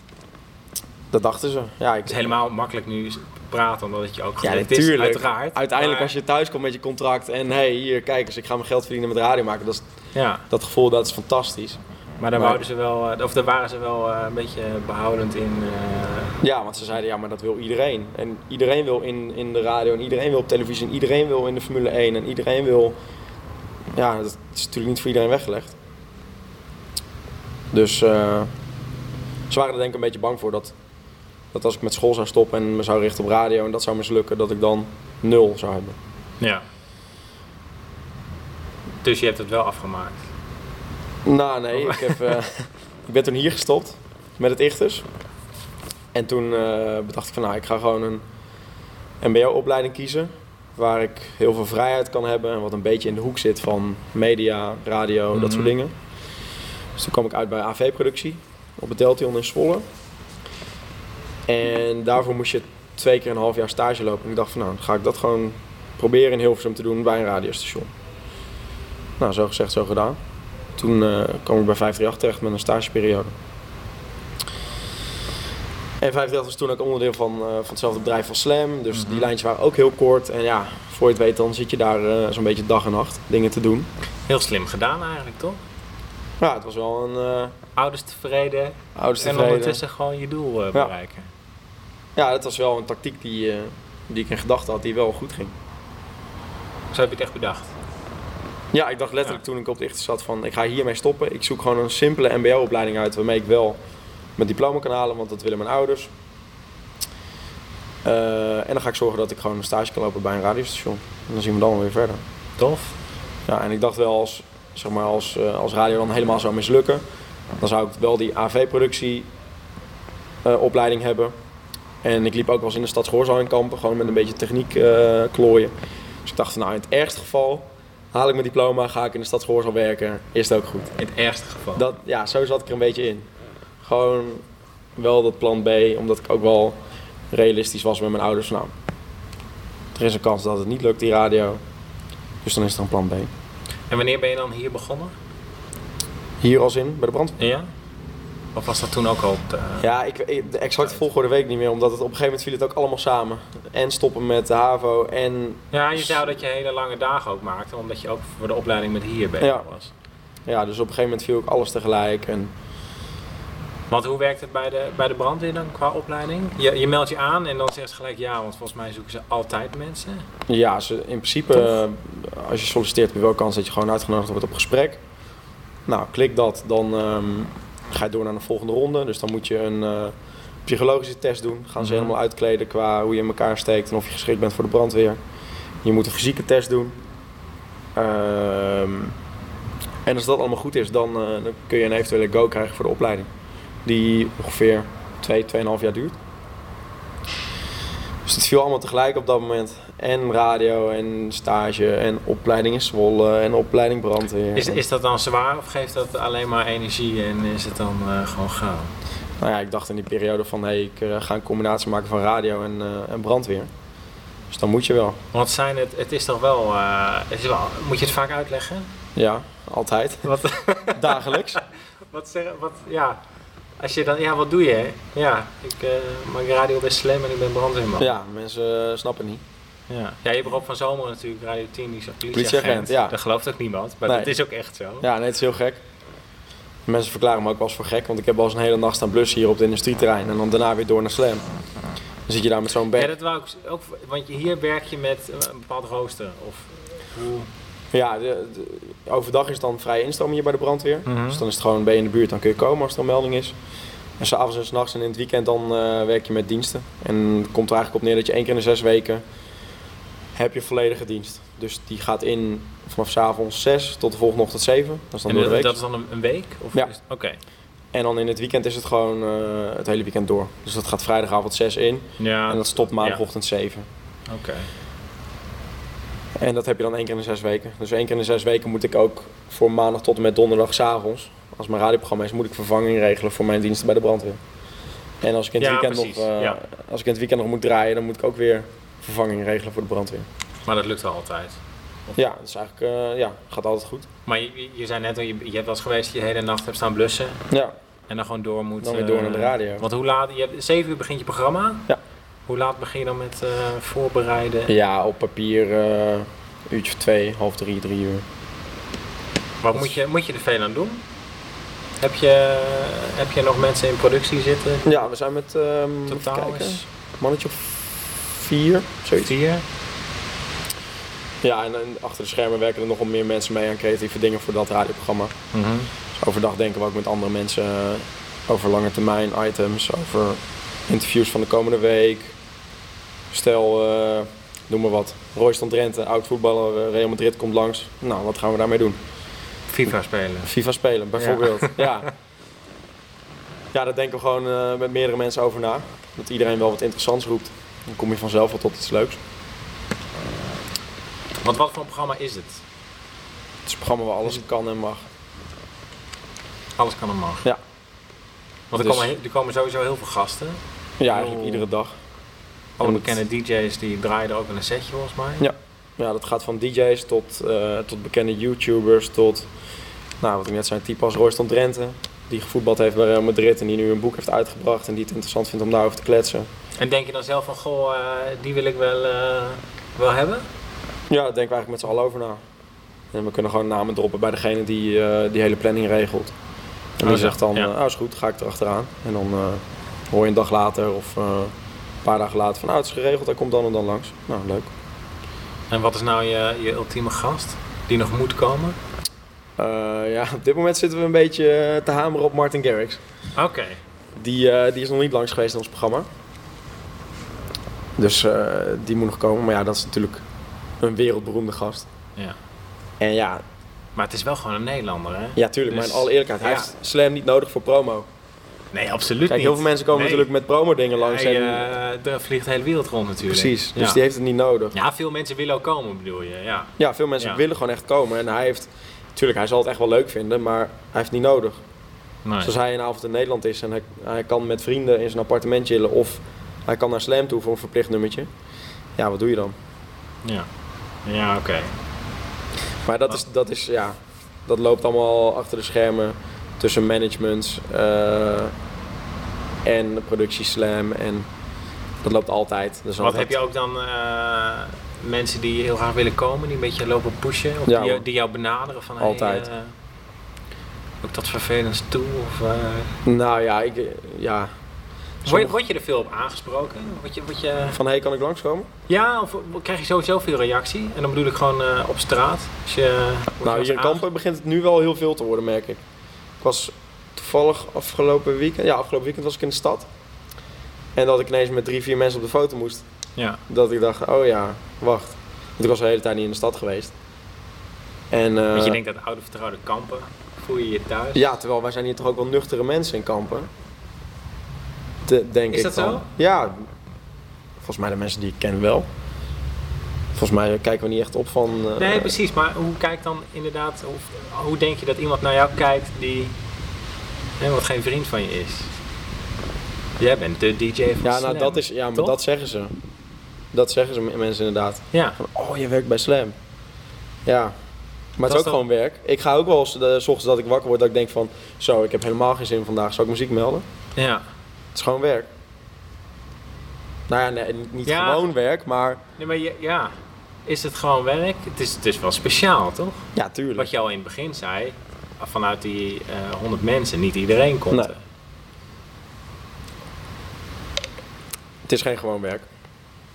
S1: Dat dachten ze. Ja, ik,
S2: Het is helemaal makkelijk nu praten, omdat het je ook
S1: Ja,
S2: gelukt is,
S1: natuurlijk.
S2: uiteraard.
S1: Uiteindelijk
S2: Maar-
S1: als je thuis komt met je contract en hé, hey, hier, kijk eens, ik ga mijn geld verdienen met radio maken. Dat, is,
S2: Ja,
S1: dat gevoel, dat is fantastisch.
S2: maar daar,
S1: Maar-
S2: wouden ze wel, eh, of daar waren ze wel eh, een beetje behoudend in. eh,
S1: Ja, want ze zeiden, ja, maar dat wil iedereen. En iedereen wil in, in de radio en iedereen wil op televisie en iedereen wil in de Formule 1 en iedereen wil... Ja, dat is natuurlijk niet voor iedereen weggelegd. Dus eh, ze waren er denk ik een beetje bang voor dat, dat als ik met school zou stoppen en me zou richten op radio en dat zou mislukken, dat ik dan nul zou hebben.
S2: ja. Dus je hebt het wel afgemaakt.
S1: Nou, nee, ik, heb, eh, ik ben toen hier gestopt met het Ichters. En toen eh, bedacht ik van, nou, ik ga gewoon een MBO-opleiding kiezen. Waar ik heel veel vrijheid kan hebben en wat een beetje in de hoek zit van media, radio, dat soort
S2: Mhm.
S1: dingen. Dus toen kwam ik uit bij AV-productie op het Deltion in Zwolle. En daarvoor moest je twee keer een half jaar stage lopen. En ik dacht van, nou, dan ga ik dat gewoon proberen in Hilversum te doen bij een radiostation. Nou, zo gezegd, zo gedaan. Toen eh kwam ik bij 538 terecht met een stageperiode. En 538 was toen ook onderdeel van, eh, van hetzelfde bedrijf als Slam. Dus
S2: Mhm.
S1: die lijntjes waren ook heel kort. En ja, voor je het weet dan zit je daar eh, zo'n beetje dag en nacht dingen te doen.
S2: Heel slim gedaan eigenlijk, toch?
S1: Ja, het was wel een eh
S2: Ouders tevreden
S1: ouders
S2: en ondertussen gewoon je doel eh, bereiken.
S1: Ja, dat was wel een tactiek die, eh, die ik in gedachten had die wel goed ging.
S2: Zo heb je het echt bedacht.
S1: Ja, ik dacht letterlijk toen ik op de ichter zat van ik ga hiermee stoppen. Ik zoek gewoon een simpele mbo-opleiding uit waarmee ik wel mijn diploma kan halen, want dat willen mijn ouders. Eh, en dan ga ik zorgen dat ik gewoon een stage kan lopen bij een radiostation. En dan zien we dan weer verder.
S2: Tof.
S1: Ja, en ik dacht wel als, zeg maar, als, eh, als radio dan helemaal zou mislukken, dan zou ik wel die AV-productie eh, opleiding hebben. En ik liep ook wel eens in de stadsgehoorzaal in kampen, gewoon met een beetje techniek eh, klooien. Dus ik dacht, van, nou in het ergste geval haal ik mijn diploma, ga ik in de stadsgehoorzaal werken, is het ook goed.
S2: In het ergste geval.
S1: Dat, ja, zo zat ik er een beetje in. Gewoon wel dat plan B, omdat ik ook wel realistisch was met mijn ouders. van, Nou, er is een kans dat het niet lukt, die radio. Dus dan is er een plan B.
S2: En wanneer ben je dan hier begonnen?
S1: Hier als in, bij de brand.
S2: Ja? Of was dat toen ook al op de...
S1: Ja, ik, ik- de exacte volgorde weet ik niet meer, omdat het op een gegeven moment viel het ook allemaal samen. En stoppen met de HAVO en...
S2: Ja, je zou dat je hele lange dagen ook maakte, omdat je ook voor de opleiding met hier bezig
S1: Ja.
S2: was.
S1: Ja, dus op een gegeven moment viel ook alles tegelijk. En,
S2: Want hoe werkt het bij de, bij de brandweer dan qua opleiding? Je, je meldt je aan en dan zegt ze gelijk ja, want volgens mij zoeken ze altijd mensen.
S1: ja, ze, in principe, eh, als je solliciteert, heb je wel kans dat je gewoon uitgenodigd wordt op gesprek. Nou, klik dat, dan ehm, ga je door naar de volgende ronde. Dus dan moet je een eh, psychologische test doen. Gaan ze
S2: Mhm.
S1: helemaal uitkleden qua hoe je in elkaar steekt en of je geschikt bent voor de brandweer. Je moet een fysieke test doen. Ehm, en als dat allemaal goed is, dan, eh, dan kun je een eventuele go krijgen voor de opleiding. Die ongeveer 2, 2,5 jaar duurt. Dus het viel allemaal tegelijk op dat moment. En radio, en stage, en opleiding in Zwolle, en opleiding brandweer.
S2: Is,
S1: En-
S2: is dat dan zwaar of geeft dat alleen maar energie en is het dan eh, gewoon gaan?
S1: Nou ja, ik dacht in die periode van, hé, hey, ik eh, ga een combinatie maken van radio en, eh, en brandweer. Dus dan moet je wel.
S2: Want zijn het, het is toch wel, eh, het is wel, moet je het vaak uitleggen?
S1: Ja, altijd.
S2: Wat,
S1: Dagelijks.
S2: wat zeg, wat, ja. Als je dan, ja, wat doe je? hè? Ja, ik eh, maak radio best slim en ik ben brandweerman.
S1: Ja, mensen eh, snappen niet.
S2: Ja. ja, je hebt Rob van Zomer natuurlijk, Radio 10, die is ook politieagent.
S1: Politieagent, ja.
S2: Dat gelooft ook niemand, maar
S1: Nee.
S2: dat is ook echt zo.
S1: Ja, nee, het is heel gek. Mensen verklaren me ook wel eens voor gek, want ik heb al eens een hele nacht staan blussen hier op het industrieterrein en dan daarna weer door naar Slam. Dan zit je daar met zo'n
S2: Ja,
S1: bek.
S2: dat wou ik ook, want je- hier werk je met eh, een bepaald rooster. Of hoe?
S1: Ja, de- de- overdag is het dan vrije instroom hier bij de brandweer.
S2: Mhm.
S1: Dus dan is het gewoon, ben je in de buurt, dan kun je komen als er een melding is. En s'avonds en s'nachts en in het weekend dan eh, werk je met diensten. En het komt er eigenlijk op neer dat je één keer in de zes weken heb je volledige dienst. Dus die gaat in vanaf s'avonds 6 tot de volgende ochtend 7. Dat is dan
S2: en
S1: door de
S2: dat,
S1: week.
S2: dat is dan een, een week? Of
S1: Ja.
S2: is- Oké.
S1: En dan in het weekend is het gewoon eh, het hele weekend door. Dus dat gaat vrijdagavond 6 in
S2: Ja,
S1: en dat stopt maandagochtend 7.
S2: oké.
S1: En dat heb je dan één keer in de zes weken. Dus één keer in de zes weken moet ik ook voor maandag tot en met donderdag s'avonds, als mijn radioprogramma is, moet ik vervanging regelen voor mijn diensten bij de brandweer. En als ik in het,
S2: Ja,
S1: weekend, nog,
S2: precies,
S1: eh,
S2: ja.
S1: als ik in het weekend nog moet draaien, dan moet ik ook weer vervanging regelen voor de brandweer.
S2: Maar dat lukt wel altijd.
S1: Ja, dat is eigenlijk, eh, ja, gaat altijd goed.
S2: Maar je, je- je zei net al, je, je hebt wel eens geweest, dat je de hele nacht hebt staan blussen.
S1: Ja,
S2: En dan gewoon door moet.
S1: dan weer door
S2: eh,
S1: naar de radio.
S2: Want hoe laat, je hebt, 7 uur begint je programma.
S1: Ja.
S2: Hoe laat begin je dan met eh, voorbereiden?
S1: Ja, op papier eh uurtje of twee, half drie, drie uur.
S2: Wat moet je, moet je er veel aan doen? Heb je, heb je nog mensen in productie zitten?
S1: Ja, we zijn met, ehm even
S2: Totaal
S1: kijken,
S2: is
S1: mannetje of vier, zoiets.
S2: vier.
S1: Ja, en, en achter de schermen werken er nogal meer mensen mee aan creatieve dingen voor dat radioprogramma. Dus overdag denken we ook met andere mensen eh, over lange termijn items, over interviews van de komende week. Stel, eh, noem maar wat, Royston Drenthe, oud voetballer, eh, Real Madrid komt langs. Nou, wat gaan we daarmee doen?
S2: FIFA spelen.
S1: FIFA spelen, bijvoorbeeld. Ja, ja. daar denken we gewoon eh, met meerdere mensen over na. Dat iedereen wel wat interessants roept. Dan kom je vanzelf wel tot iets leuks.
S2: Want wat voor een programma is het?
S1: Het is een programma waar alles kan en mag.
S2: Alles kan en mag.
S1: Ja.
S2: Want er,
S1: Dus-
S2: komen, he- er komen sowieso heel veel gasten.
S1: Ja, eigenlijk
S2: Oh.
S1: iedere dag.
S2: Alle
S1: En dat-
S2: bekende DJ's die draaien er ook in een setje volgens mij.
S1: Ja. Ja, dat gaat van DJ's tot, eh, tot bekende YouTubers, tot nou, wat ik net zei, type als Royston Drenthe, die gevoetbald heeft bij Real Madrid en die nu een boek heeft uitgebracht en die het interessant vindt om daarover te kletsen.
S2: En denk je dan zelf van, goh, eh, die wil ik wel, eh, wel hebben?
S1: Ja, daar denken we eigenlijk met z'n allen over na. En we kunnen gewoon namen droppen bij degene die eh, die hele planning regelt. En
S2: Oh,
S1: die
S2: zo.
S1: zegt dan,
S2: Ja.
S1: eh, oh is goed, ga ik erachteraan. En dan eh, hoor je een dag later of eh, een paar dagen later van, nou het is geregeld, hij komt dan en dan langs. Nou, leuk.
S2: En wat is nou je, je ultieme gast die nog moet komen?
S1: Eh, ja, op dit moment zitten we een beetje eh, te hameren op Martin Garrix.
S2: Oké.
S1: Die, eh, die is nog niet langs geweest in ons programma. Dus eh, die moet nog komen. Maar ja, dat is natuurlijk een wereldberoemde gast.
S2: Ja.
S1: En ja,
S2: Maar het is wel gewoon een Nederlander, hè?
S1: ja tuurlijk,
S2: Dus-
S1: maar in alle eerlijkheid. Hij
S2: ja.
S1: heeft Slam niet nodig voor promo.
S2: Nee, absoluut
S1: Kijk,
S2: niet.
S1: heel veel mensen komen
S2: Nee.
S1: natuurlijk met promo-dingen langs.
S2: Hij,
S1: en,
S2: eh, er vliegt de hele wereld rond natuurlijk.
S1: precies, dus
S2: ja.
S1: die heeft het niet nodig.
S2: ja, veel mensen willen ook komen, bedoel je. Ja.
S1: Ja, veel mensen
S2: Ja.
S1: willen gewoon echt komen. En hij heeft, tuurlijk, hij zal het echt wel leuk vinden, maar hij heeft het niet nodig.
S2: Nee.
S1: Dus als hij een avond in Nederland is en hij, hij kan met vrienden in zijn appartement chillen of hij kan naar Slam toe voor een verplicht nummertje. Ja, wat doe je dan?
S2: Ja, ja oké.
S1: Maar dat is, dat is, ja, dat loopt allemaal achter de schermen tussen management eh, en de productie Slam en dat loopt altijd. Dus
S2: Wat heb je ook dan eh, mensen die heel graag willen komen, die een beetje lopen pushen? Of
S1: Ja,
S2: die, jou-
S1: hoor.
S2: die jou benaderen van...
S1: Altijd.
S2: Hey, eh, ook dat vervelends toe? Of, eh,
S1: Nou ja, ik, eh, ja.
S2: word, je,
S1: Sommige-
S2: word je er veel op aangesproken? Word je, word je,
S1: Van hé, hey, kan ik langskomen?
S2: ja, of krijg je sowieso veel reactie? En dan bedoel ik gewoon eh, op straat. Als je, word je wel
S1: nou,
S2: eens
S1: hier in
S2: aange-
S1: Kampen begint het nu wel heel veel te worden, merk ik. Ik was toevallig afgelopen weekend, ja, afgelopen weekend was ik in de stad. En dat ik ineens met drie, vier mensen op de foto moest.
S2: Ja.
S1: Dat ik dacht, oh ja, wacht. Want ik was de hele tijd niet in de stad geweest. En, eh,
S2: Want je denkt dat oude vertrouwde kampen, voel je je thuis?
S1: Ja, terwijl wij zijn hier toch ook wel nuchtere mensen in kampen. De, denk
S2: Is
S1: ik
S2: dat
S1: dan.
S2: zo?
S1: Ja. Volgens mij de mensen die ik ken wel. Volgens mij kijken we niet echt op van... eh,
S2: Nee, precies. Maar hoe kijkt dan inderdaad, of hoe denk je dat iemand naar jou kijkt die hè, wat geen vriend van je is? Jij bent de DJ van
S1: Ja, nou
S2: Slam,
S1: dat is... Ja, maar
S2: toch?
S1: dat zeggen ze. Dat zeggen ze m- mensen inderdaad.
S2: Ja,
S1: Van, oh, je werkt bij Slam. Ja. Maar het is
S2: Dat is
S1: ook
S2: dan-
S1: gewoon werk. Ik ga ook wel eens, eh, s ochtends dat ik wakker word, dat ik denk van... Zo, ik heb helemaal geen zin vandaag. Zal ik muziek melden?
S2: ja.
S1: Het is gewoon werk. Nou ja, nee, niet- niet
S2: Ja.
S1: gewoon werk, maar...
S2: Nee, maar je- ja, is het gewoon werk? Het is, het is wel speciaal, toch?
S1: Ja, tuurlijk.
S2: Wat je al in het begin zei, vanuit die eh 100 mensen niet iedereen komt.
S1: Nee.
S2: eh.
S1: Het is geen gewoon werk.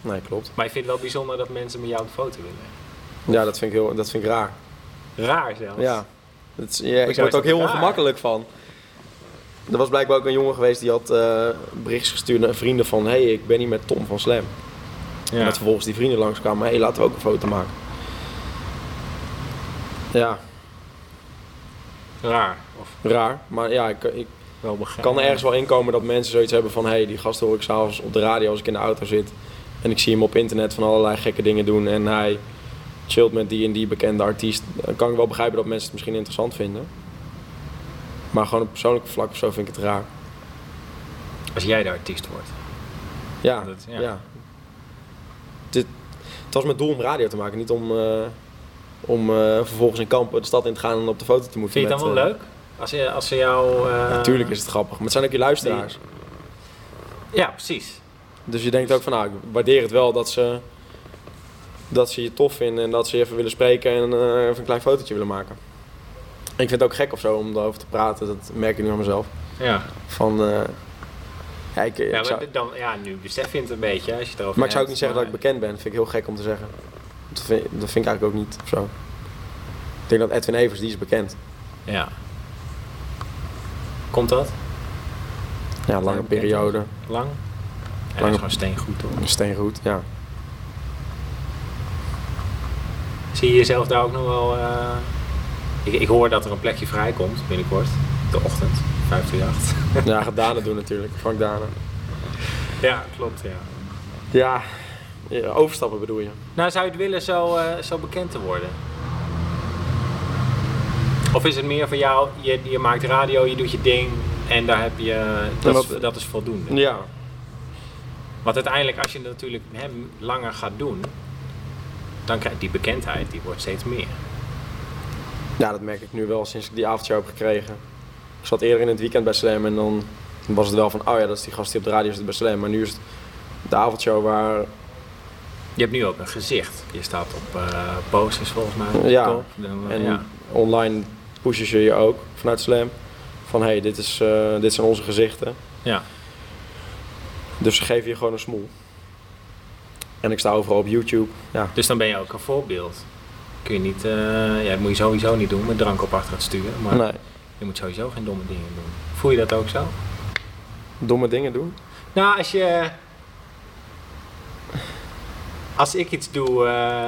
S1: Nee, klopt.
S2: Maar ik vind het wel bijzonder dat mensen met jou op de foto willen.
S1: Ja, dat vind ik, heel, dat vind ik raar.
S2: Raar zelfs.
S1: Ja. Dat is, ja ik word
S2: is
S1: er ook
S2: dat
S1: heel
S2: raar?
S1: ongemakkelijk van. Er was blijkbaar ook een jongen geweest die had eh, berichtjes gestuurd naar vrienden van... ...hé, hey, ik ben hier met Tom van Slam.
S2: Ja.
S1: En dat vervolgens die vrienden langskwamen, hé, hey, laten we ook een foto maken. Ja,
S2: Raar. Of
S1: raar. Maar ja, ik, ik
S2: wel begrijp.
S1: kan er ergens wel inkomen dat mensen zoiets hebben van... ...hé, hey, die gast hoor ik s'avonds op de radio als ik in de auto zit... ...en ik zie hem op internet van allerlei gekke dingen doen... ...en hij chillt met die en die bekende artiest. Dan kan ik wel begrijpen dat mensen het misschien interessant vinden. Maar gewoon op persoonlijk vlak of zo vind ik het raar.
S2: Als jij de artiest wordt.
S1: Ja,
S2: Dat-
S1: ja.
S2: ja.
S1: Dit, het was mijn doel om radio te maken, niet om, eh, om eh, vervolgens in kampen de stad in te gaan en op de foto te moeten.
S2: Vind je het dan
S1: met,
S2: wel
S1: eh,
S2: leuk? Als, je, als ze jou... eh,
S1: Natuurlijk is het grappig, maar het zijn ook je luisteraars.
S2: Ja, precies.
S1: Dus je denkt ook van, nou, ik waardeer het wel dat ze, dat ze je tof vinden en dat ze je even willen spreken en eh, even een klein fotootje willen maken. En ik vind het ook gek of zo om daarover te praten, dat merk ik nu aan mezelf.
S2: Ja.
S1: Van, eh, ja, ik, ik
S2: Ja, maar,
S1: zou-
S2: d- dan, ja, nu besef je het een beetje als je het erover
S1: Maar ik zou ook niet
S2: hebt,
S1: zeggen dat ik
S2: maar-
S1: bekend ben. Dat vind ik heel gek om te zeggen. Dat vind, dat vind ik eigenlijk ook niet of zo. Ik denk dat Edwin Evers, die is bekend.
S2: Ja. Komt dat?
S1: Ja, lange
S2: bekend
S1: periode.
S2: Lang? Ja, dat
S1: Lang.
S2: is gewoon steengoed hoor.
S1: Steengoed, ja.
S2: Zie je jezelf daar ook nog wel... eh, Ik, ik hoor dat er een plekje vrijkomt binnenkort. De ochtend, 538.
S1: Ja, gaat Dane doen natuurlijk. Frank Dane.
S2: Ja, klopt ja.
S1: Ja, ja, overstappen bedoel je.
S2: Nou, zou je het willen zo, eh, zo bekend te worden? Of is het meer van jou, je, je maakt radio, je doet je ding en daar heb je, dat,
S1: wat-
S2: is, dat is voldoende.
S1: Ja.
S2: Want uiteindelijk, als je het natuurlijk hem langer gaat doen, dan krijg je die bekendheid, die wordt steeds meer.
S1: ja, dat merk ik nu wel sinds ik die avondshow heb gekregen. Ik zat eerder in het weekend bij Slam en dan was het wel van... Oh ja, dat is die gast die op de radio zit bij Slam. Maar nu is het de avondshow waar...
S2: Je hebt nu ook een gezicht. Je staat op eh, posters volgens mij. op de
S1: Ja,
S2: top. Dan, eh,
S1: En
S2: ja.
S1: online pushen ze je ook vanuit Slam. Van hé, hey, dit, is, eh, dit zijn onze gezichten.
S2: Ja.
S1: Dus ze geven je gewoon een smoel. En ik sta overal op YouTube. Ja,
S2: Dus dan ben je ook een voorbeeld. Kun je niet, eh, ja, dat moet je sowieso niet doen met drank op achter het stuur. Maar
S1: nee.
S2: je moet sowieso geen domme dingen doen. Voel je dat ook zo?
S1: Domme dingen doen.
S2: Nou, als je. Als ik iets doe. eh,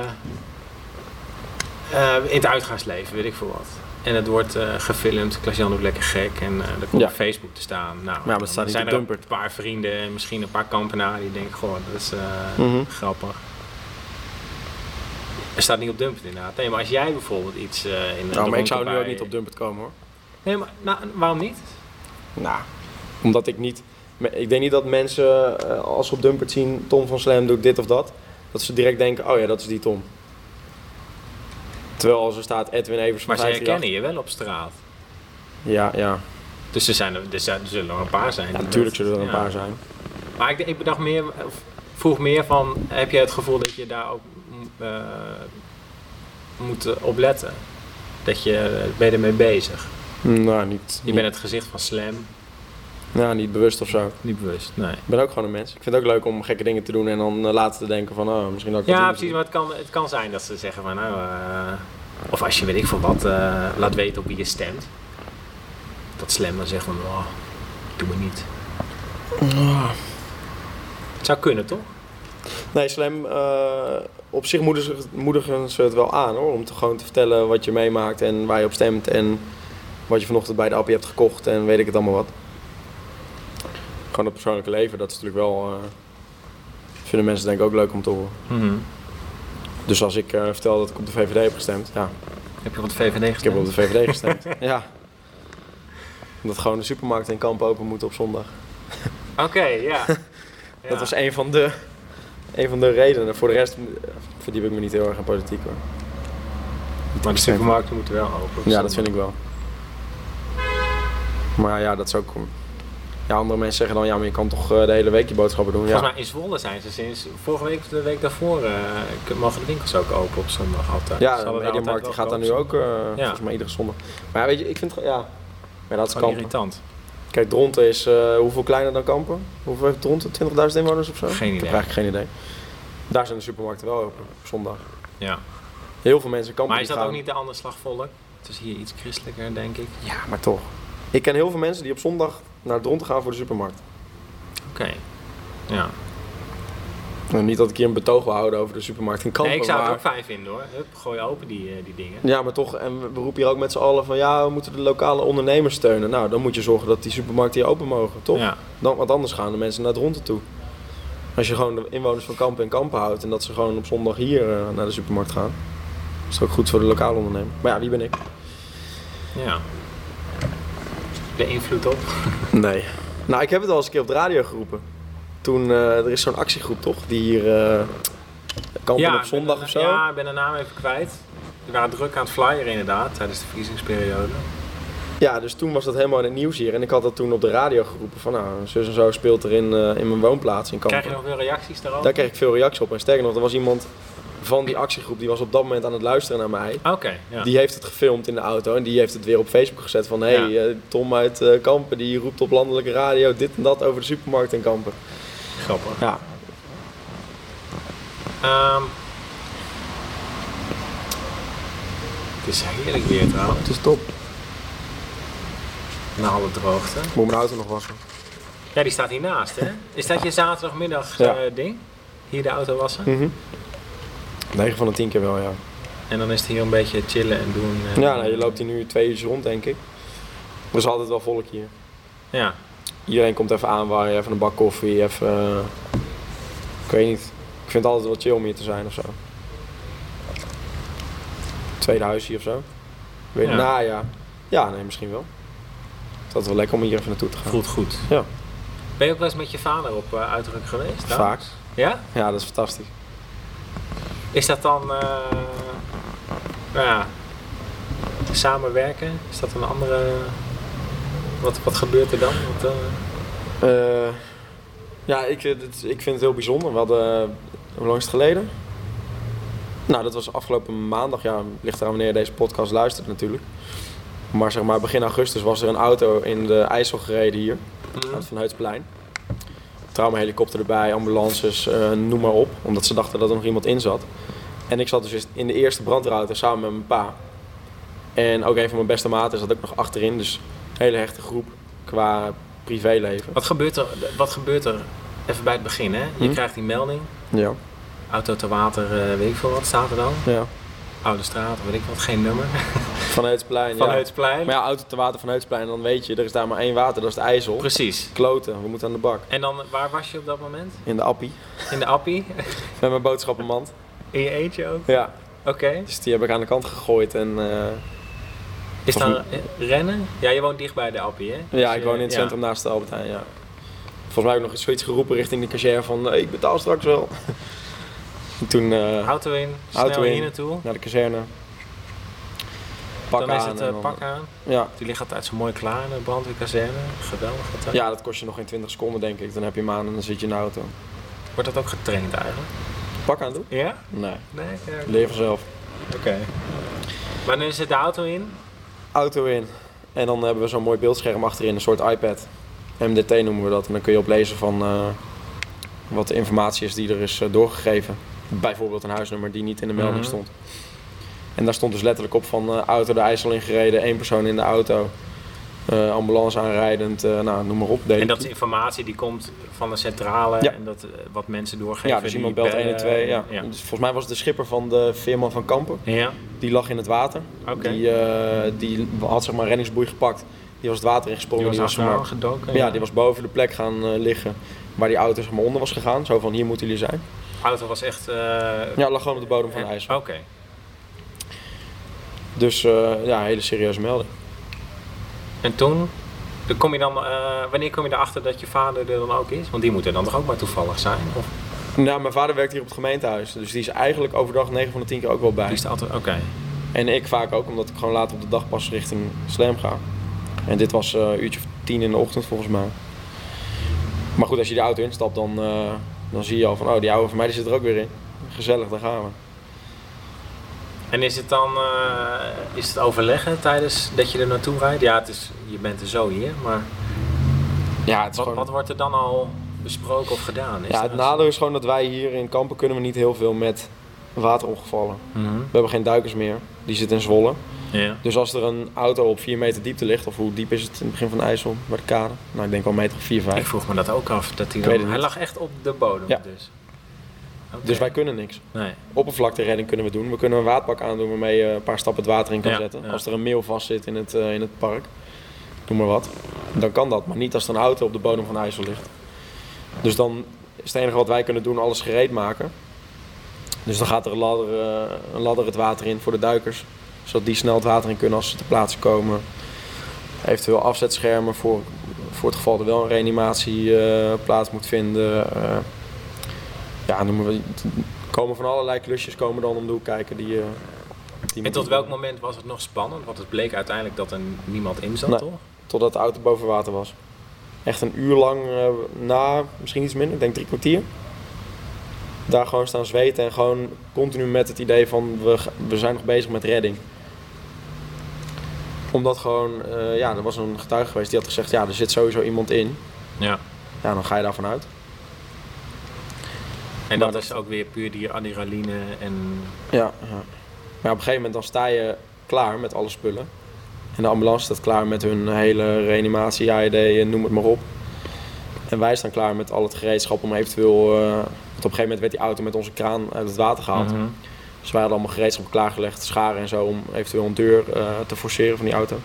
S2: eh, in het uitgaansleven, weet ik veel wat. En het wordt eh, gefilmd, Klaas-Jan doet lekker gek. En eh er komt
S1: Ja.
S2: op Facebook te staan. Nou,
S1: maar het
S2: dan
S1: staat niet
S2: zijn
S1: op
S2: er
S1: Dumpert.
S2: een paar vrienden en misschien een paar kampenaren die denken: Goh, dat is eh,
S1: Mhm.
S2: grappig. Er staat niet op Dumpert inderdaad. Nee, maar als jij bijvoorbeeld iets eh, in
S1: Nou,
S2: de
S1: maar ik
S2: ronde
S1: zou nu
S2: bij-
S1: ook niet op Dumpert komen hoor.
S2: Nee, maar nou, waarom niet?
S1: Nou, omdat ik niet. me- Ik denk niet dat mensen eh, als ze op Dumpert zien Tom van Slam doet dit of dat, dat ze direct denken: oh ja, dat is die Tom. Terwijl als er staat Edwin Evers van
S2: Maar ze
S1: 538.
S2: herkennen je wel op straat.
S1: Ja, ja.
S2: Dus er, zijn er, er zijn- er zullen er een paar zijn.
S1: ja natuurlijk zullen er een
S2: Ja.
S1: paar zijn.
S2: Maar ik, ik bedacht meer, of vroeg meer van, heb jij het gevoel dat je daar ook m, eh, moet eh, op letten? Dat je, eh, ben je ermee bezig?
S1: Nou, niet.
S2: Je
S1: niet,
S2: bent het gezicht van Slam,
S1: nou, niet bewust of zo.
S2: niet bewust, nee.
S1: Ik ben ook gewoon een mens. Ik vind het ook leuk om gekke dingen te doen en dan eh, later te denken: van oh, misschien dat ik dat
S2: Ja,
S1: niet
S2: precies,
S1: doe.
S2: maar het kan, het kan zijn dat ze zeggen van, nou, eh, of als je weet ik veel wat, eh, laat weten op wie je stemt. Dat Slam dan zegt van, oh, doe me niet. Het zou kunnen, toch?
S1: Nee, Slam, eh, op zich moedigen ze, moedigen ze het wel aan hoor. Om te gewoon te vertellen wat je meemaakt en waar je op stemt. En wat je vanochtend bij de appie hebt gekocht en weet ik het allemaal wat. Gewoon het persoonlijke leven, dat is natuurlijk wel. eh, vinden mensen denk ik ook leuk om te horen. Dus als ik eh, vertel dat ik op de VVD heb gestemd, ja,
S2: Heb je wat VVD
S1: ik heb op de VVD gestemd. ja. Omdat gewoon de supermarkt in Kampen open moet op zondag.
S2: Oké, ja.
S1: Dat
S2: Ja.
S1: was een van, de, een van de redenen. Voor de rest eh, verdiep ik me niet heel erg in politiek hoor.
S2: Maar de supermarkten moeten wel open.
S1: Ja, dat vind ik wel. Maar ja, dat is ook. Ja, andere mensen zeggen dan, ja, maar je kan toch eh, de hele week je boodschappen doen. Ja.
S2: Volgens mij in Zwolle zijn ze sinds vorige week of de week daarvoor. eh, k- mogen de winkels ook open op zondag altijd.
S1: Ja,
S2: Ze
S1: de
S2: hadden daar
S1: Mediamarkt die
S2: altijd
S1: gaat daar
S2: wel
S1: nu
S2: koop-
S1: ook, eh, volgens mij iedere zondag. Maar ja, weet je, ik vind het gewoon- ja. Maar dat is
S2: Gewoon
S1: kampen.
S2: irritant.
S1: Kijk, Dronten is, eh, hoeveel kleiner dan Kampen? Hoeveel heeft Dronten? 20.000 inwoners of zo?
S2: Geen
S1: Ik
S2: idee.
S1: heb eigenlijk geen idee. Daar zijn de supermarkten wel open, op zondag.
S2: Ja.
S1: Heel veel mensen kampen
S2: Maar is
S1: die
S2: dat ook
S1: gaan-
S2: niet de andere slagvolk? Het is hier iets christelijker, denk ik.
S1: Ja, maar toch. Ik ken heel veel mensen die op zondag naar Dronten gaan voor de supermarkt.
S2: Oké. Ja.
S1: Nou, niet dat ik hier een betoog wil houden over de supermarkt in Kampen,
S2: Nee, ik zou het
S1: maar...
S2: ook fijn vinden hoor. Hup, gooi open die, eh, die dingen.
S1: Ja, maar toch, en we- we roepen hier ook met z'n allen van ja, we moeten de lokale ondernemers steunen. Nou, dan moet je zorgen dat die supermarkten hier open mogen, toch?
S2: Ja.
S1: Dan, want anders gaan de mensen naar Dronten toe. Als je gewoon de inwoners van Kampen en Kampen houdt en dat ze gewoon op zondag hier eh, naar de supermarkt gaan, is het ook goed voor de lokale ondernemer. Maar ja, wie ben ik?
S2: ja. De invloed op.
S1: Nee. Nou, ik heb het al eens een keer op de radio geroepen. Toen, eh, er is zo'n actiegroep toch, die hier eh, Kampen op
S2: ik ben
S1: zondag
S2: de-
S1: of zo.
S2: Ja, ik ben de naam even kwijt. Die waren druk aan het flyeren inderdaad, tijdens de verkiezingsperiode.
S1: Ja, dus toen was dat helemaal in het nieuws hier. En ik had dat toen op de radio geroepen van nou, zus en zo speelt er in, eh, in mijn woonplaats in Kampen.
S2: Krijg je nog weer reacties daarover?
S1: Daar kreeg ik veel reacties op. En sterker nog, er was iemand van die actiegroep, die was op dat moment aan het luisteren naar mij.
S2: Oké, ja.
S1: Die heeft het gefilmd in de auto en die heeft het weer op Facebook gezet van... hé, hey,
S2: Ja.
S1: eh, Tom uit eh, Kampen die roept op landelijke radio dit en dat over de supermarkt in Kampen.
S2: grappig.
S1: Ja.
S2: Ehm, het is heerlijk weer trouwens,
S1: Het is top.
S2: na alle droogte.
S1: Ik moet mijn auto nog wassen.
S2: Ja, die staat hiernaast hè? Is dat je zaterdagmiddag
S1: Ja.
S2: eh, ding? Hier de auto wassen?
S1: Mhm. 9 van de 10 keer wel, ja.
S2: En dan is het hier een beetje chillen en doen. eh,
S1: Ja, nou, je loopt hier nu twee uur rond, denk ik. Er is altijd wel volk hier.
S2: Ja,
S1: Iedereen komt even aanwaaien, even een bak koffie, even... eh, ik weet niet. Ik vind het altijd wel chill om hier te zijn of zo. Tweede huis hier of zo. Ik Weet
S2: Ja.
S1: Nou ja. Ja, nee, misschien wel. Het is altijd wel lekker om hier even naartoe te gaan.
S2: voelt goed.
S1: Ja.
S2: Ben je ook wel eens met je vader op eh, uitdruk geweest? dan?
S1: Vaak.
S2: Ja?
S1: Ja, dat is fantastisch.
S2: Is dat dan, eh, nou ja, samenwerken? Is dat een andere, wat, wat gebeurt er dan? Wat, eh,
S1: Eh, ja, ik, eh, dit- ik vind het heel bijzonder. We hadden, eh, hoe lang is het geleden? Nou, dat was afgelopen maandag. Ja, ligt eraan wanneer je deze podcast luistert natuurlijk. Maar zeg maar begin augustus was er een auto in de IJssel gereden hier. Aan het Van Heutsplein. Traumahelikopter erbij, ambulances, eh, noem maar op. Omdat ze dachten dat er nog iemand in zat. En ik zat dus eerst in de eerste brandruiter samen met mijn pa. En ook een van mijn beste maten zat ook nog achterin. Dus een hele hechte groep qua privéleven.
S2: wat, gebeurt er, wat gebeurt er, even bij het begin hè? Je
S1: Hm?
S2: krijgt die melding,
S1: Ja,
S2: auto te water, eh, weet ik veel wat staat er dan?
S1: ja.
S2: Oude straat, weet ik wat, geen nummer.
S1: Vanuit het plein,
S2: Van
S1: ja.
S2: Heutsplein.
S1: Maar ja, auto te water vanuit het plein, dan weet je, er is daar maar één water, dat is de IJssel.
S2: Precies.
S1: Kloten, we moeten aan de bak.
S2: En dan, waar was je op dat moment?
S1: In de appie,
S2: In de appie?
S1: met mijn boodschappenmand.
S2: In je eentje ook?
S1: Ja,
S2: Oké.
S1: dus die heb ik aan de kant gegooid en eh,
S2: Is
S1: Of-
S2: dan eh, rennen? Ja, je woont dicht bij de appie hè? Dus
S1: eh, ja, ik
S2: je-
S1: woon in het
S2: ja.
S1: centrum naast de Albert Heijn, ja. Volgens mij heb ik nog zoiets geroepen richting de cashier van, eh, ik betaal straks wel. En toen eh,
S2: Auto in, snel
S1: Auto in.
S2: hier naartoe.
S1: naar de kazerne. Pak
S2: dan
S1: aan
S2: is het
S1: en
S2: eh,
S1: dan-
S2: pak aan.
S1: Ja.
S2: Die ligt altijd zo mooi klaar in de brandweerkazerne. Geweldig. Wat, dat-
S1: ja, dat kost je nog geen 20 seconden denk ik. Dan heb je hem aan en dan zit je in de auto.
S2: Wordt dat ook getraind eigenlijk?
S1: Pak aan doen?
S2: Ja?
S1: Nee,
S2: Nee? Ja. Oké.
S1: leer vanzelf.
S2: Maar dan zit de auto in.
S1: auto in. En dan hebben we zo'n mooi beeldscherm achterin, een soort iPad. MDT noemen we dat. En dan kun je oplezen van eh, wat de informatie is die er is eh, doorgegeven. Bijvoorbeeld een huisnummer die niet in de melding
S2: Mhm.
S1: stond. En daar stond dus letterlijk op van eh, auto de IJssel ingereden, één persoon in de auto, eh, ambulance aanrijdend, eh, nou, noem maar op. deed
S2: En
S1: ik
S2: dat is informatie die komt van de centrale.
S1: Ja.
S2: En dat, eh, wat mensen doorgeven.
S1: ja, dus
S2: die
S1: iemand belt 1
S2: bellen.
S1: en 2. Ja.
S2: Ja.
S1: Dus volgens mij was het de schipper van de Veerman van Kampen.
S2: Ja,
S1: Die lag in het water.
S2: oké.
S1: Die, eh, die had zeg maar een reddingsboei gepakt. Die was het water
S2: Die
S1: ingesprongen.
S2: was
S1: maar-
S2: achteraan gedoken.
S1: Ja, die was boven de plek gaan eh, liggen waar die auto zeg maar onder was gegaan. Zo van, hier moeten jullie zijn.
S2: auto was echt... eh,
S1: Ja, lag gewoon op de bodem van de
S2: eh,
S1: IJssel.
S2: Oké.
S1: Dus eh, ja, een hele serieuze melding.
S2: En toen... dan Kom je dan, eh, wanneer kom je erachter dat je vader er dan ook is? Want die moet er dan toch ook maar toevallig zijn? Of
S1: Nou, mijn vader werkt hier op het gemeentehuis. Dus die is eigenlijk overdag 9 van de 10 keer ook wel
S2: die
S1: bij.
S2: is er altijd... Oké.
S1: En ik vaak ook, omdat ik gewoon later op de dag pas richting Slam ga. En dit was eh, een uurtje of tien in de ochtend volgens mij. Maar goed, als je de auto instapt, dan, eh, dan zie je al van, oh, die oude van mij die zit er ook weer in. Gezellig, daar gaan we.
S2: En is het dan eh, is het overleggen tijdens dat je er naartoe rijdt? Ja, het is, je bent er zo hier, maar
S1: Ja, het is
S2: wat,
S1: gewoon...
S2: wat wordt er dan al besproken of gedaan? Is
S1: Ja,
S2: er
S1: het
S2: een-
S1: nadeel is gewoon dat wij hier in Kampen kunnen we niet heel veel met waterongevallen.
S2: Mhm.
S1: We hebben geen duikers meer, die zitten in Zwolle.
S2: Ja.
S1: Dus als er een auto op 4 meter diepte ligt, of hoe diep is het in het begin van de IJssel, bij de kade? Nou, ik denk wel een meter of 4, 5.
S2: Ik vroeg me dat ook af. Dat hij,
S1: Ik weet
S2: dan,
S1: het
S2: hij
S1: niet.
S2: lag echt op de bodem.
S1: Ja.
S2: Dus, Oké.
S1: Dus wij kunnen niks.
S2: Nee.
S1: Oppervlakteredding kunnen we doen. We kunnen een waadpak aandoen waarmee je een paar stappen het water in kan
S2: Ja,
S1: zetten.
S2: ja.
S1: Als er een meel vast zit in het, eh, in het park, noem maar wat. Dan kan dat, maar niet als er een auto op de bodem van de IJssel ligt. Dus dan is het enige wat wij kunnen doen alles gereed maken. Dus dan gaat er een ladder, eh, een ladder het water in voor de duikers. Zodat die snel het water in kunnen als ze ter plaatse komen. Eventueel afzetschermen voor, voor het geval er wel een reanimatie eh, plaats moet vinden. Eh, ja, noemen we, komen van allerlei klusjes komen dan om de hoek kijken. Die, eh, die
S2: En tot welk moment was het nog spannend? Want het bleek uiteindelijk dat er niemand in zat,
S1: Nee.
S2: toch?
S1: Totdat de auto boven water was. Echt een uur lang eh, na, misschien iets minder, ik denk drie kwartier. Daar gewoon staan zweten en gewoon continu met het idee van we, g- we zijn nog bezig met redding. Omdat gewoon, eh, ja, er was een getuige geweest die had gezegd, ja, er zit sowieso iemand in.
S2: Ja.
S1: Ja, dan ga je daarvan uit. Maar
S2: En dat
S1: dat-
S2: is ook weer puur die adrenaline en...
S1: Ja. ja. Maar op een gegeven moment dan sta je klaar met alle spullen. En de ambulance staat klaar met hun hele reanimatie, AED, eh, noem het maar op. En wij staan klaar met al het gereedschap om eventueel... eh, want op een gegeven moment werd die auto met onze kraan uit het water gehaald.
S2: Mhm.
S1: Dus wij hadden allemaal gereedschap klaargelegd, scharen en zo, om eventueel een deur eh, te forceren van die auto.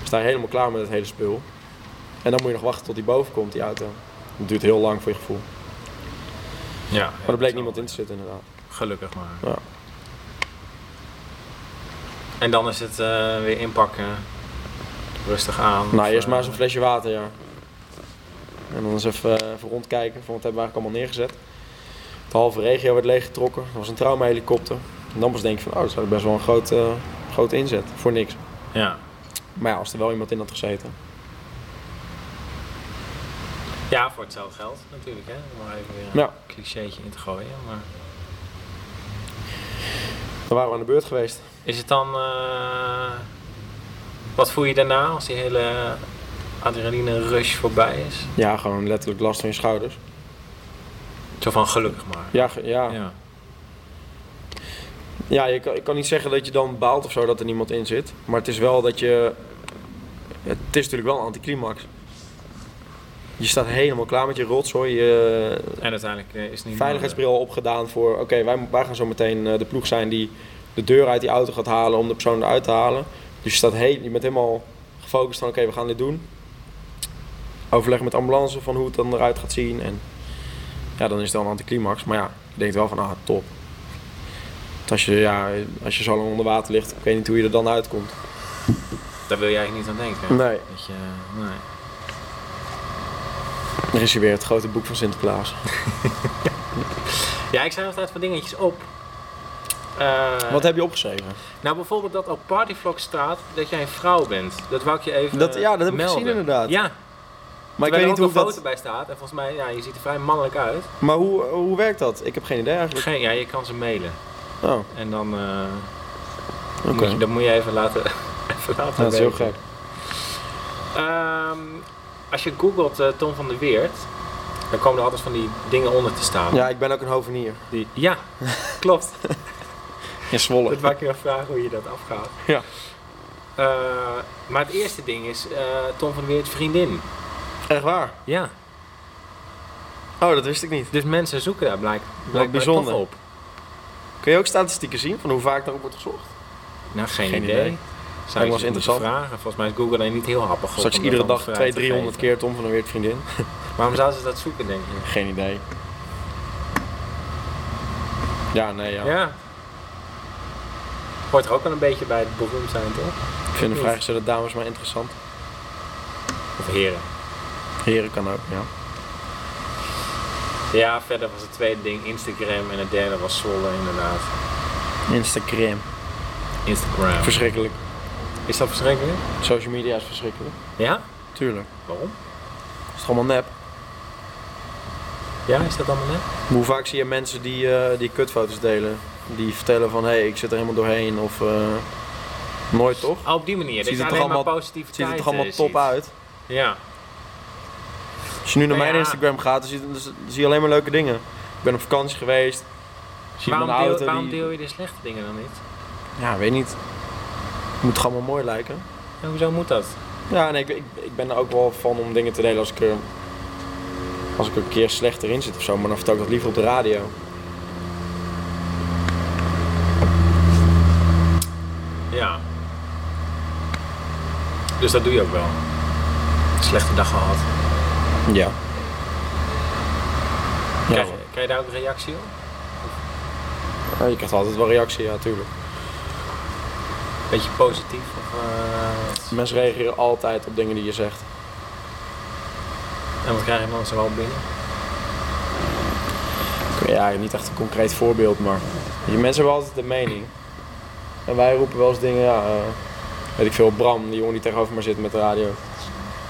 S1: We staan helemaal klaar met het hele spul. En dan moet je nog wachten tot die boven komt, die auto. Dat duurt heel lang voor je gevoel.
S2: Ja.
S1: Maar er bleek niemand in te zitten inderdaad.
S2: Gelukkig maar.
S1: Ja.
S2: En dan is het eh, weer inpakken. Rustig aan.
S1: Nou,
S2: Of,
S1: eerst
S2: eh,
S1: maar eens een flesje water, ja. En dan eens even, eh, even rondkijken van wat hebben we eigenlijk allemaal neergezet. De halve regio werd leeggetrokken, er was een traumahelikopter. En dan pas denk je van, oh, dat is eigenlijk best wel een grote, eh, grote inzet, voor niks.
S2: Ja.
S1: Maar ja, als er wel iemand in had gezeten.
S2: ja, voor hetzelfde geld natuurlijk. Hè? Om maar even weer een
S1: Ja.
S2: clichétje in te gooien. Maar
S1: Dan waren we aan de beurt geweest.
S2: is het dan... eh, wat voel je daarna als die hele adrenaline rush voorbij is?
S1: Ja, gewoon letterlijk last van je schouders.
S2: Zo van gelukkig maar.
S1: Ja, ge- ja. ja.
S2: ja.
S1: je kan, ik kan niet zeggen dat je dan baalt of zo dat er niemand in zit. Maar het is wel dat je... Het is natuurlijk wel een anticlimax. Je staat helemaal klaar met je rotzooi. Je,
S2: En uiteindelijk eh, is het niet...
S1: veiligheidsbril opgedaan voor... oké, wij, wij gaan zo meteen eh, de ploeg zijn die de deur uit die auto gaat halen... om de persoon eruit te halen. Dus je, staat heel, je bent helemaal gefocust van... oké, we gaan dit doen. Overleg met de ambulance van hoe het dan eruit gaat zien. En ja, dan is het wel een anticlimax. Maar ja, je denkt wel van, ah, top. Want Als je, ja, als je zo lang onder water ligt, ik weet niet hoe je er dan uitkomt.
S2: eh, Daar wil je eigenlijk niet aan denken.
S1: Nee.
S2: Dat je, eh, nee.
S1: Er is hier weer het grote boek van Sinterklaas.
S2: Ja, ik schrijf altijd van dingetjes op. Eh,
S1: Wat heb je opgeschreven?
S2: Nou, bijvoorbeeld dat op Partyvlog staat dat jij een vrouw bent. Dat wou ik je even
S1: Dat-
S2: eh,
S1: ja, dat heb ik
S2: melden.
S1: gezien inderdaad.
S2: Ja,
S1: Maar ik
S2: terwijl
S1: weet
S2: er
S1: niet
S2: ook
S1: hoe
S2: een foto
S1: dat...
S2: bij staat. En volgens mij, ja, je ziet er vrij mannelijk uit.
S1: Maar hoe, eh, hoe werkt dat? Ik heb geen idee eigenlijk.
S2: Geen, ja, je kan ze mailen.
S1: Oh,
S2: En dan eh,
S1: oké.
S2: moet, je, dat moet je even laten, even laten
S1: Ja, dat is heel
S2: weten.
S1: gek.
S2: Ehm, als je googelt eh, Tom van der Weert, dan komen er altijd van die dingen onder te staan.
S1: Ja, ik ben ook een hovenier.
S2: Die- ja klopt.
S1: In Zwolle.
S2: Dat wou ik je wel vragen hoe je dat afgaat.
S1: Ja.
S2: Eh, maar het eerste ding is eh, Tom van der Weert vriendin.
S1: Echt waar?
S2: Ja.
S1: Oh, dat wist ik niet.
S2: Dus mensen zoeken daar blijk, blijkbaar
S1: bijzonder.
S2: toch op.
S1: Kun je ook statistieken zien van hoe vaak daarop wordt gezocht?
S2: Nou, geen,
S1: Geen
S2: idee.
S1: idee.
S2: Zou
S1: was
S2: je ze moeten
S1: interessant.
S2: vragen? Volgens mij is Google daar niet heel happig op.
S1: Straks
S2: om
S1: iedere
S2: dat
S1: dag
S2: allemaal vrij
S1: 200, 300
S2: te geven.
S1: keer Tom van der Weert vriendin.
S2: Waarom zouden ze dat zoeken, denk je?
S1: Geen idee. Ja, nee, ja.
S2: Ja. Hoort er ook wel een beetje bij het beroemd zijn, toch?
S1: ik vind de vraagstellen dames maar interessant.
S2: Of heren.
S1: Heren kan ook, ja.
S2: Ja, verder was het tweede ding Instagram en het derde was Zwolle, inderdaad.
S1: Instagram.
S2: Instagram.
S1: Verschrikkelijk.
S2: Is dat verschrikkelijk?
S1: Social media is verschrikkelijk.
S2: Ja?
S1: Tuurlijk.
S2: Waarom?
S1: Is het allemaal nep?
S2: Ja, is dat allemaal net?
S1: Hoe vaak zie je mensen die, eh, die kutfoto's delen? Die vertellen van, hé, hey, ik zit er helemaal doorheen of... eh, nooit toch?
S2: Oh, op die
S1: Ziet
S2: manier. dat je
S1: het
S2: alleen
S1: er
S2: maar
S1: allemaal-
S2: positief
S1: Het ziet er toch allemaal top uit?
S2: Ja.
S1: Als je nu naar
S2: Nou
S1: mijn
S2: ja.
S1: Instagram gaat, dan zie, dan zie je alleen maar leuke dingen. Ik ben op vakantie geweest. Zie
S2: Waarom,
S1: mijn
S2: deel,
S1: auto
S2: waarom
S1: die-
S2: deel je de slechte dingen dan niet?
S1: Ja, weet niet. Het moet toch allemaal mooi lijken?
S2: En hoezo moet dat?
S1: Ja, nee, ik, ik, ik ben er ook wel van om dingen te delen als ik, er- als ik er een keer slecht erin zit of zo. Maar dan vertel ik dat liever op de radio.
S2: Ja. Dus dat doe je ook wel. Slechte dag gehad.
S1: Ja. Ja,
S2: Krijg, je- krijg je daar ook een reactie op?
S1: ja, je krijgt altijd wel reactie, ja, tuurlijk.
S2: Beetje positief? Of, eh,
S1: Mensen reageren altijd op dingen die je zegt.
S2: en wat krijg je dan zo wel binnen?
S1: Ja, niet echt een concreet voorbeeld, maar die mensen hebben altijd een mening. En wij roepen wel eens dingen, ja, eh, weet ik veel, Bram, die jongen die tegenover me zit met de radio.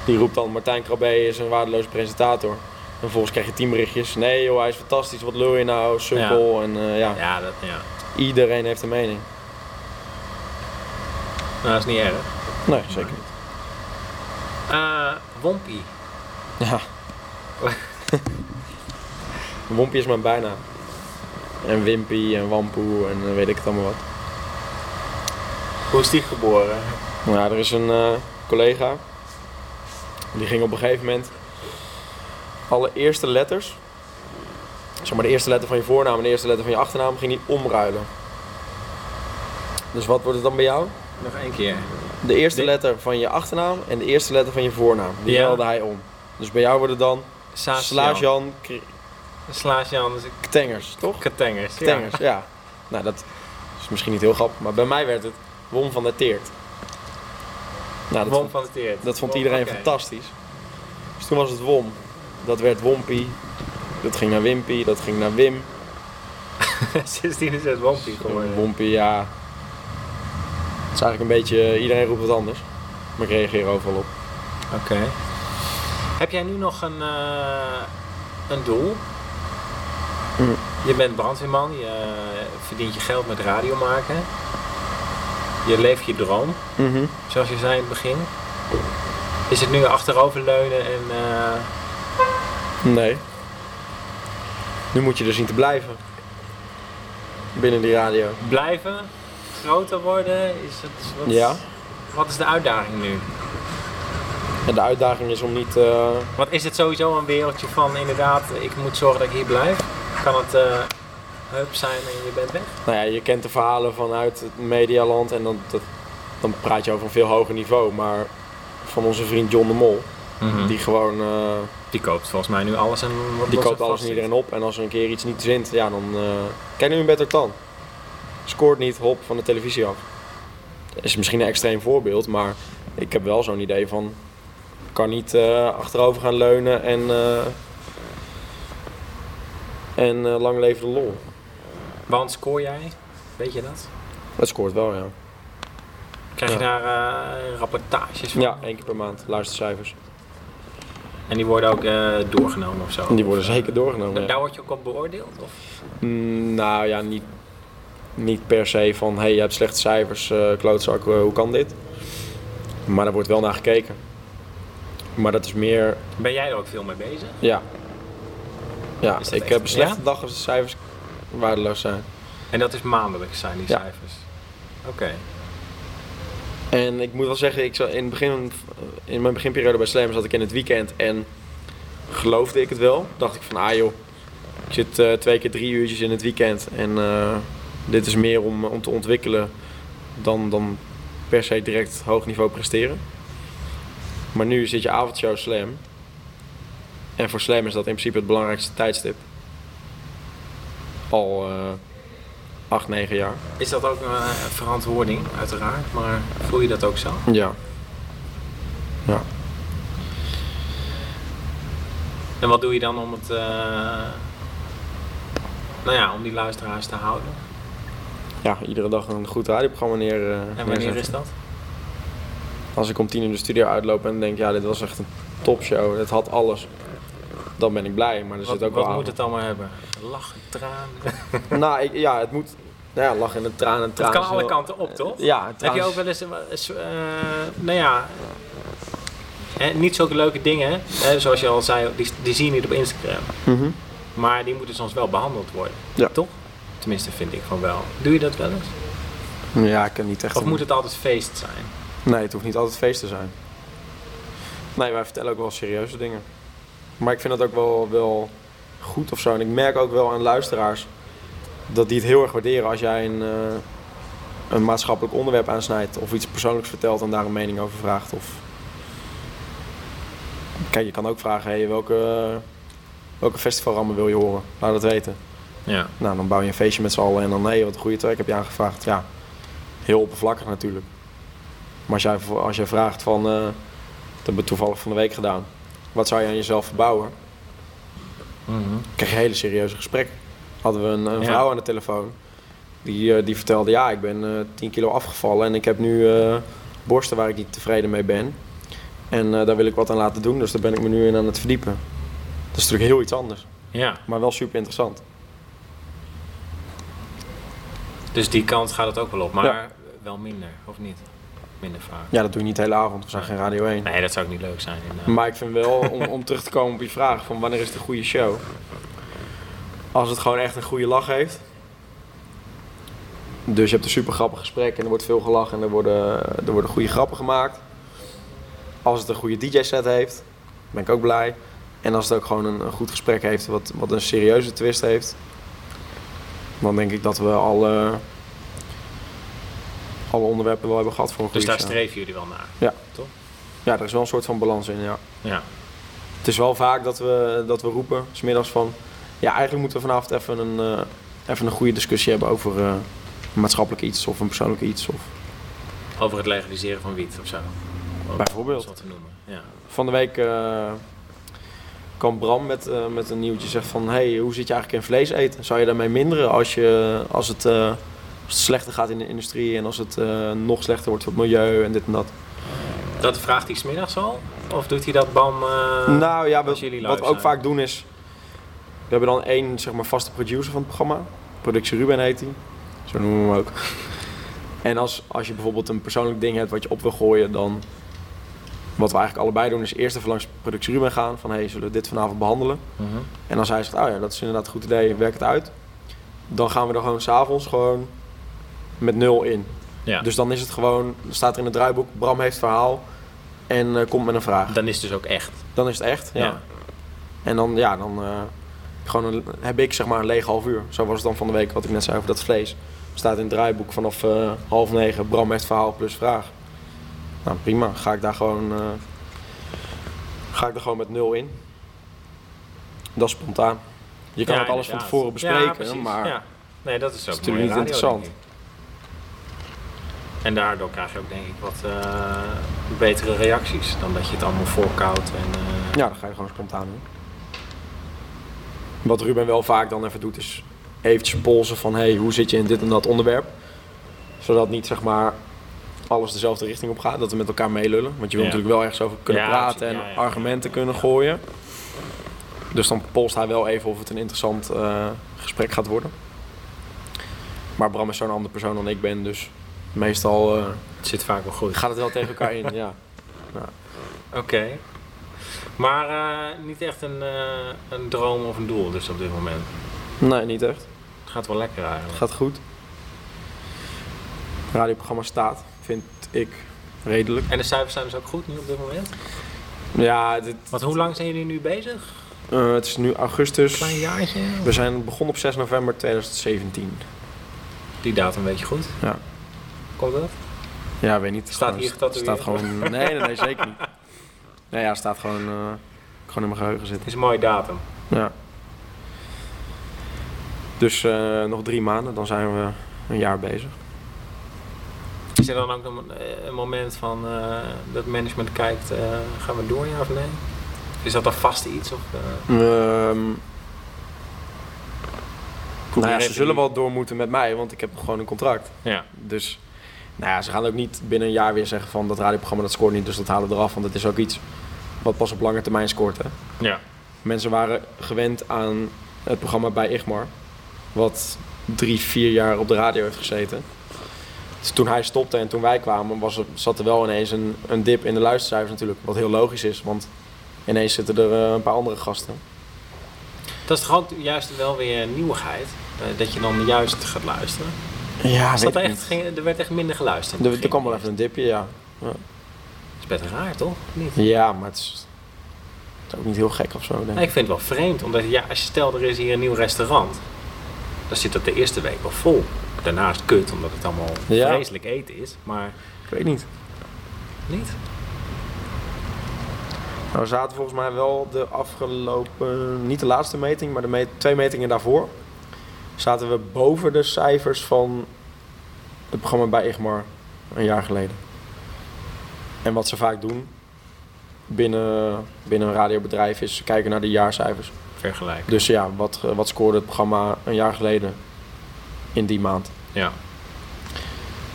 S1: Die roept dan, Martijn Krabbe is een waardeloze presentator. En vervolgens krijg je tien berichtjes, nee joh, hij is fantastisch, wat lul je nou, sukkel. En eh, ja,
S2: Ja, dat, ja.
S1: iedereen heeft een mening.
S2: Nou, dat is niet erg.
S1: Nee, zeker niet.
S2: Eh Wompie.
S1: Ja. Wompie is mijn bijnaam. En Wimpy en Wampoe en eh, weet ik het allemaal wat.
S2: Hoe is die geboren?
S1: Nou, ja, er is een eh, collega. Die ging op een gegeven moment alle eerste letters, zeg maar de eerste letter van je voornaam en de eerste letter van je achternaam, ging die omruilen. Dus wat wordt het dan bij jou?
S2: Nog één keer.
S1: De eerste
S2: De-
S1: letter van je achternaam en de eerste letter van je voornaam. Die
S2: Ja.
S1: ruilde hij om. Dus bij jou wordt het dan
S2: Slaasjan.
S1: Slaasjan K-
S2: Slaasjan is
S1: Ktengers, toch?
S2: Katengers. dus ja.
S1: Ktengers, ja. Nou, dat is misschien niet heel grappig, maar bij mij werd het Wom van der Teert. Nou, dat
S2: Wom van het Teert.
S1: Dat vond
S2: Wom,
S1: iedereen
S2: oké.
S1: fantastisch. Dus toen was het Wom. Dat werd Wompie. Dat ging naar Wimpy, dat ging naar Wim.
S2: Sindsdien is het Wompie geworden.
S1: Wompie, ja. Het is eigenlijk een beetje, iedereen roept wat anders. Maar ik reageer overal op.
S2: Oké. Heb jij nu nog een, eh, een doel?
S1: Mm.
S2: Je bent brandweerman, je eh, verdient je geld met radio maken. Je leeft je droom, zoals je zei in het begin. Is het nu achteroverleunen en... eh,
S1: Nee. Nu moet je er zien te blijven. Binnen die radio.
S2: blijven, groter worden? Is het, wat,
S1: Ja.
S2: wat is de uitdaging nu?
S1: En de uitdaging is om niet... eh,
S2: Want is het sowieso een wereldje van inderdaad, ik moet zorgen dat ik hier blijf? Kan het eh hup zijn en je bent weg?
S1: Nou ja, je kent de verhalen vanuit het medialand en dan, dat, dan praat je over een veel hoger niveau. Maar van onze vriend John de Mol,
S2: Mhm.
S1: die gewoon... eh,
S2: Die koopt volgens mij nu alles en wat
S1: Die
S2: los
S1: koopt
S2: en
S1: alles en
S2: vast
S1: iedereen
S2: zit.
S1: op. En als er een keer iets niet zint, ja, dan eh kijk nu een better dan. Scoort niet, hop, van de televisie af. Is misschien een extreem voorbeeld, maar ik heb wel zo'n idee van... kan niet eh, achterover gaan leunen en... eh, en eh, lang leven de lol.
S2: Want scoor jij, weet je dat?
S1: Dat scoort wel, ja.
S2: Krijg je
S1: Ja.
S2: daar eh, rapportages van?
S1: Ja, één keer per maand, luistercijfers.
S2: En die worden ook eh, doorgenomen of zo?
S1: Die worden
S2: Of, eh,
S1: zeker doorgenomen,
S2: da-
S1: ja.
S2: Daar word je ook op beoordeeld? Of?
S1: Mm, nou ja, niet, niet per se van hé, hey, je hebt slechte cijfers, eh, klootzak, eh, hoe kan dit? Maar daar wordt wel naar gekeken. Maar dat is meer,
S2: Ben jij er ook veel mee bezig?
S1: ja. Ja,
S2: Is
S1: ik
S2: dat echt-
S1: heb een slechte
S2: ja?
S1: dag als de cijfers waardeloos zijn.
S2: En dat is maandelijks zijn die
S1: Ja.
S2: cijfers? Oké.
S1: En ik moet wel zeggen, ik zat in, het begin, in mijn beginperiode bij Slam zat ik in het weekend en geloofde ik het wel. Dacht ik van, ah joh, ik zit eh, twee keer drie uurtjes in het weekend en eh, dit is meer om, om te ontwikkelen dan, dan per se direct hoog niveau presteren. Maar nu zit je avondshow Slam en voor Slam is dat in principe het belangrijkste tijdstip. Al eh acht, negen jaar.
S2: Is dat ook een eh, verantwoording, uiteraard, maar voel je dat ook zo?
S1: Ja. Ja.
S2: En wat doe je dan om het, eh, nou ja, om die luisteraars te houden?
S1: ja, iedere dag een goed radioprogramma neer. eh,
S2: En wanneer
S1: neerzetten.
S2: is dat?
S1: Als ik om tien in de studio uitloop en denk, ja, dit was echt een topshow. Het had alles. dan ben ik blij. Maar er
S2: Wat,
S1: zit ook
S2: wat
S1: wel
S2: moet
S1: aan.
S2: het allemaal hebben? Lachen, tranen.
S1: Nou, ik, ja, het moet... Nou ja, lach en de tranen. en
S2: Het
S1: tranen
S2: kan
S1: is
S2: alle
S1: wel-
S2: kanten op, toch?
S1: Ja,
S2: Heb je
S1: tranen.
S2: ook wel eens, eh, eh, nou ja, eh, niet zulke leuke dingen, hè? Eh, zoals je al zei, die, die zie je niet op Instagram.
S1: Mhm.
S2: Maar die moeten soms wel behandeld worden,
S1: Ja.
S2: toch? Tenminste vind ik van wel. Doe je dat wel eens?
S1: Ja, ik kan niet echt...
S2: Of
S1: een-
S2: moet het altijd feest zijn?
S1: Nee, het hoeft niet altijd feest te zijn. Nee, wij vertellen ook wel serieuze dingen. Maar ik vind dat ook wel, wel goed of zo. En ik merk ook wel aan luisteraars dat die het heel erg waarderen als jij een, eh, een maatschappelijk onderwerp aansnijdt of iets persoonlijks vertelt en daar een mening over vraagt. Of... Kijk, je kan ook vragen, hey, welke, welke festivalrammen wil je horen? Laat het weten.
S2: Ja.
S1: Nou, dan bouw je een feestje met z'n allen en dan hé, hey, wat een goede track heb je aangevraagd. Ja, heel oppervlakkig natuurlijk. Maar als jij, als jij vraagt van, eh, dat hebben we toevallig van de week gedaan. Wat zou je aan jezelf verbouwen? Krijg je hele serieuze gesprekken. Hadden we een, een
S2: Ja.
S1: vrouw aan de telefoon. Die, eh, die vertelde, ja, ik ben eh 10 kilo afgevallen en ik heb nu eh, borsten waar ik niet tevreden mee ben. En eh, daar wil ik wat aan laten doen, dus daar ben ik me nu in aan het verdiepen. Dat is natuurlijk heel iets anders,
S2: Ja,
S1: maar wel super interessant.
S2: dus die kant gaat het ook wel op, maar
S1: Ja.
S2: wel minder, of niet? Minder vaak.
S1: Ja, dat doe je niet de hele avond, we zijn geen Radio 1.
S2: Nee, dat zou ook niet leuk zijn eh, inderdaad.
S1: Maar ik vind wel, om, om terug te komen op je vraag van wanneer is het een goede show. Als het gewoon echt een goede lach heeft. Dus je hebt een super grappig gesprek en er wordt veel gelachen en er worden, er worden goede grappen gemaakt. Als het een goede DJ-set heeft, ben ik ook blij. En als het ook gewoon een, een goed gesprek heeft, wat, wat een serieuze twist heeft. Dan denk ik dat we alle, alle onderwerpen wel hebben gehad voor een
S2: dus
S1: goede
S2: daar
S1: show.
S2: streven jullie wel naar.
S1: Ja, er is wel een soort van balans in, ja.
S2: Ja.
S1: Het is wel vaak dat we, dat we roepen, smiddags van... Ja, eigenlijk moeten we vanavond even een, eh, even een goede discussie hebben over eh, een maatschappelijk iets of een persoonlijk iets. Of,
S2: Over het legaliseren van wiet of zo. Om
S1: Bijvoorbeeld.
S2: het zo te noemen. Ja.
S1: van de week eh, kwam Bram met, eh, met een nieuwtje zegt van... hey, hoe zit je eigenlijk in vlees eten? Zou je daarmee minderen als, je, als, het, eh, als het slechter gaat in de industrie... en als het eh, nog slechter wordt voor het milieu en dit en dat?
S2: Dat vraagt hij smiddags al? Of doet hij dat bam? eh,
S1: nou ja,
S2: als
S1: wat,
S2: jullie live
S1: wat we ook
S2: zijn.
S1: vaak doen is... We hebben dan één zeg maar, vaste producer van het programma. Productie Ruben heet hij. Zo noemen we hem ook. En als, als je bijvoorbeeld een persoonlijk ding hebt wat je op wil gooien, dan... Wat we eigenlijk allebei doen is eerst even langs productie Ruben gaan. Van, hé, hey, zullen we dit vanavond behandelen?
S2: Mhm.
S1: En als hij zegt, oh ja, dat is inderdaad een goed idee, werk het uit. Dan gaan we er gewoon s'avonds gewoon met nul in.
S2: Ja.
S1: Dus dan is het gewoon, staat er in het draaiboek, Bram heeft verhaal en eh, komt met een vraag.
S2: Dan is het dus ook echt.
S1: Dan is het echt, ja.
S2: Ja.
S1: En dan, ja, dan eh, gewoon een- heb ik zeg maar een leeg half uur. Zo was het dan van de week wat ik net zei over dat vlees. Staat in het draaiboek vanaf eh, half negen, Bram heeft verhaal plus vraag. Nou prima, ga ik daar gewoon, eh, ga ik daar gewoon met nul in. Dat is spontaan. Je kan
S2: Ja,
S1: ook alles van
S2: inderdaad.
S1: tevoren
S2: Ja,
S1: bespreken,
S2: precies.
S1: maar
S2: Ja. Nee, dat is ook
S1: is natuurlijk
S2: mooie
S1: niet
S2: radio,
S1: interessant.
S2: denk ik. En daardoor krijg je ook denk ik wat eh, betere reacties dan dat je het allemaal voorkoudt. En, eh,
S1: Ja, dan ga je gewoon spontaan doen. Wat Ruben wel vaak dan even doet is eventjes polsen van hey, hoe zit je in dit en dat onderwerp. Zodat niet zeg maar alles dezelfde richting op gaat, dat we met elkaar meelullen. Want je wil
S2: Ja.
S1: natuurlijk wel ergens over kunnen
S2: Ja,
S1: praten en
S2: precies. Ja, ja.
S1: argumenten kunnen gooien. Dus dan polst hij wel even of het een interessant eh, gesprek gaat worden. Maar Bram is zo'n andere persoon dan ik ben, dus meestal eh,
S2: het zit vaak wel goed.
S1: gaat het wel tegen elkaar in. Ja.
S2: Oké. Maar eh, niet echt een, eh, een droom of een doel dus op dit moment.
S1: Nee, niet echt.
S2: Het gaat wel lekker eigenlijk.
S1: Gaat goed. Radioprogramma staat, vind ik redelijk.
S2: En de cijfers zijn dus ook goed nu op dit moment.
S1: Ja, dit,
S2: Want hoe lang zijn jullie nu bezig?
S1: eh, het is nu augustus.
S2: Klein jaartje?
S1: We zijn begonnen op 6 november 2017.
S2: Die datum weet je goed.
S1: Ja.
S2: Komt dat?
S1: Ja, weet niet. Het
S2: Staat
S1: gewoon-
S2: hier getatoeëerd?
S1: Staat gewoon. Nee, nee, nee, zeker niet. Nee, ja, het staat gewoon, eh, gewoon in mijn geheugen
S2: Het
S1: zitten.
S2: is een mooie datum.
S1: Ja. Dus eh, nog drie maanden, dan zijn we een jaar bezig.
S2: Is er dan ook een, eh, een moment van eh, dat management kijkt, eh, gaan we door ja of nee? Is dat dan vast iets? Of, eh,
S1: Ehm nou ja,
S2: heeft
S1: ze
S2: een-
S1: zullen wel door moeten met mij, want ik heb gewoon een contract.
S2: Ja.
S1: Dus nou ja, ze gaan ook niet binnen een jaar weer zeggen van dat radioprogramma dat scoort niet, dus dat halen we eraf. Want het is ook iets wat pas op lange termijn scoort. Hè?
S2: ja.
S1: Mensen waren gewend aan het programma bij Igmar, wat drie, vier jaar op de radio heeft gezeten. Dus toen hij stopte en toen wij kwamen, was er, zat er wel ineens een, een dip in de luistercijfers natuurlijk. Wat heel logisch is, want ineens zitten er eh, een paar andere gasten.
S2: Dat is toch ook juist wel weer nieuwigheid. eh, dat je dan juist gaat luisteren.
S1: Ja,
S2: Is dat echt, ging, er werd echt minder geluisterd.
S1: Er, er kwam wel even een dipje, ja.
S2: Dat is best raar, toch? Of Niet?
S1: Ja, maar het is, het is ook niet heel gek of zo, denk
S2: Nou,
S1: ik.
S2: ik vind het wel vreemd, omdat ja, als je stel er is hier een nieuw restaurant, dan zit dat de eerste week wel vol. Daarna is het kut, omdat het allemaal
S1: Ja.
S2: vreselijk eten is, maar
S1: Ik weet niet.
S2: niet.
S1: Nou, we zaten volgens mij wel de afgelopen, niet de laatste meting, maar de me- twee metingen daarvoor. Zaten we boven de cijfers van het programma bij Igmar een jaar geleden. En wat ze vaak doen binnen, binnen een radiobedrijf is ze kijken naar de jaarcijfers.
S2: Vergelijk.
S1: Dus ja, wat, eh, wat scoorde het programma een jaar geleden in die maand?
S2: Ja.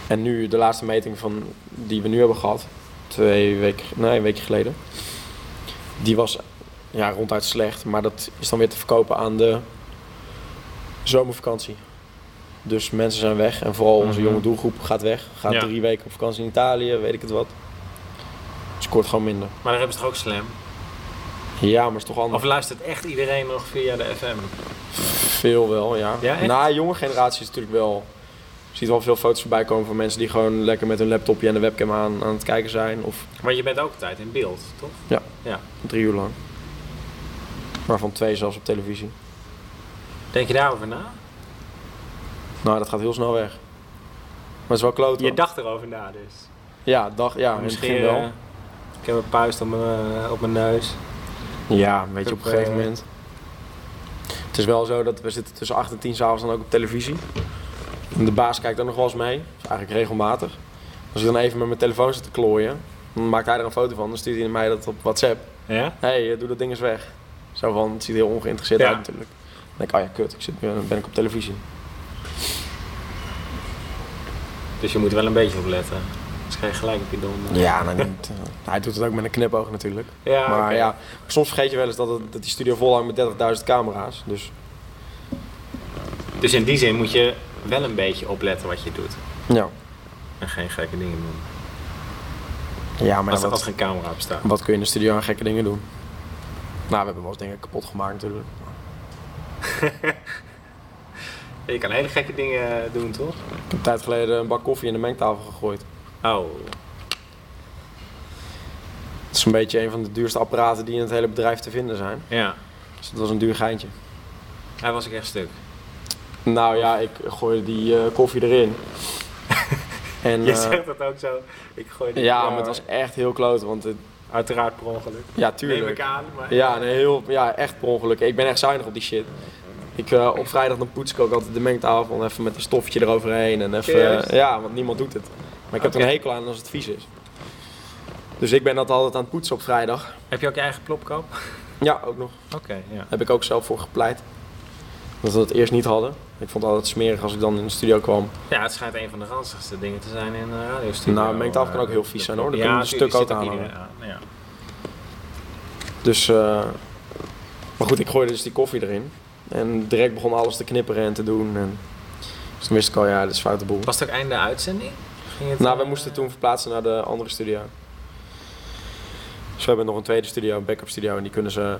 S1: En nu de laatste meting van die we nu hebben gehad, twee weken, nee, een weekje geleden, die was ja, ronduit slecht, maar dat is dan weer te verkopen aan de zomervakantie. Dus mensen zijn weg en vooral onze
S2: Mhm.
S1: jonge doelgroep gaat weg. Gaat
S2: Ja.
S1: drie weken op vakantie in Italië, weet ik het wat. Scoort gewoon minder.
S2: Maar daar hebben ze toch ook slam?
S1: Ja, maar is toch anders.
S2: Of luistert echt iedereen nog via de FM?
S1: Veel wel, ja.
S2: Ja, echt?
S1: Na jonge generatie is het natuurlijk wel. Je ziet wel veel foto's voorbij komen van mensen die gewoon lekker met hun laptopje en de webcam aan, aan het kijken zijn. Of
S2: Maar je bent ook altijd in beeld, toch?
S1: drie uur lang. Waarvan twee zelfs op televisie.
S2: Denk je daarover na?
S1: Nou, dat gaat heel snel weg. Maar het is wel kloot.
S2: Je dacht erover na dus.
S1: Ja, dag, ja, misschien in het begin
S2: eh, ik heb een puist op mijn, eh, op mijn neus.
S1: wel. Ja, weet je, op een
S2: heb,
S1: gegeven
S2: eh,
S1: moment. Het is wel zo dat we zitten tussen 8 en 10 s'avonds dan ook op televisie. En de baas kijkt dan nog wel eens mee. Dus eigenlijk regelmatig. Als ik dan even met mijn telefoon zit te klooien, dan maakt hij er een foto van. Dan stuurt hij mij dat op WhatsApp.
S2: Ja?
S1: Hé, hey, eh, doe dat ding eens weg. Zo van, het ziet er heel ongeïnteresseerd
S2: Ja.
S1: uit natuurlijk. Dan denk ik, oh ja, kut, ik zit, ben, ben ik op televisie.
S2: Dus je moet er wel een beetje op letten. Anders ga je gelijk op je donder.
S1: Ja, nou, niet, eh, hij doet het ook met een knipoog natuurlijk.
S2: Ja,
S1: maar
S2: Ah, oké.
S1: ja, soms vergeet je wel eens dat, het- dat die studio vol hangt met 30.000 camera's. Dus
S2: Dus in die zin moet je wel een beetje opletten wat je doet.
S1: ja,
S2: En geen gekke dingen doen.
S1: ja maar
S2: als,
S1: ja,
S2: er- als er
S1: wat,
S2: geen camera op staat.
S1: wat kun je in de studio aan gekke dingen doen? Nou, we hebben wel eens dingen kapot gemaakt natuurlijk.
S2: Je kan hele gekke dingen eh, doen, toch?
S1: Ik heb een tijd geleden een bak koffie in de mengtafel gegooid.
S2: Oh.
S1: Het is een beetje een van de duurste apparaten die in het hele bedrijf te vinden zijn.
S2: Ja.
S1: Dus dat was een duur geintje.
S2: Hij was ik echt stuk.
S1: Nou ja, ik gooide die eh, koffie erin. en,
S2: je
S1: eh,
S2: zegt dat ook zo. Ik gooi dit-
S1: ja, maar het was echt heel kloot, want het,
S2: Uiteraard per ongeluk.
S1: ja,
S2: Neem
S1: tuurlijk.
S2: ik aan, maar...
S1: Ja, nee, heel, ja, echt per ongeluk. Ik ben echt zuinig op die shit. Ik, eh, op vrijdag dan poets ik ook altijd de mengtafel en even met een stofje eroverheen. En even,
S2: Serieus?
S1: eh, ja, want niemand doet het. Maar ik heb er
S2: Oké.
S1: een hekel aan als het vies is. Dus ik ben dat altijd aan het poetsen op vrijdag.
S2: Heb je ook je eigen plopkap?
S1: Ja, ook nog.
S2: Oké, ja.
S1: Heb ik ook zelf voor gepleit. Dat we dat eerst niet hadden. Ik vond het altijd smerig als ik dan in de studio kwam.
S2: Ja, het schijnt een van de ranzigste dingen te zijn in een radiostudio. Eh,
S1: Nou, een mengtafel kan ook heel vies zijn, hoor. Daar kun je een
S2: tuurlijk,
S1: stuk
S2: zit
S1: ook
S2: ook
S1: aan
S2: iedereen aan, Ja.
S1: Dus, eh, maar goed, ik gooide dus die koffie erin. En direct begon alles te knipperen en te doen. En, dus toen wist ik al, ja, dit is foute boel.
S2: Was het ook einde uitzending? Ging het,
S1: Nou, we
S2: eh,
S1: moesten toen verplaatsen naar de andere studio. Dus we hebben nog een tweede studio, een backup studio. En die kunnen ze,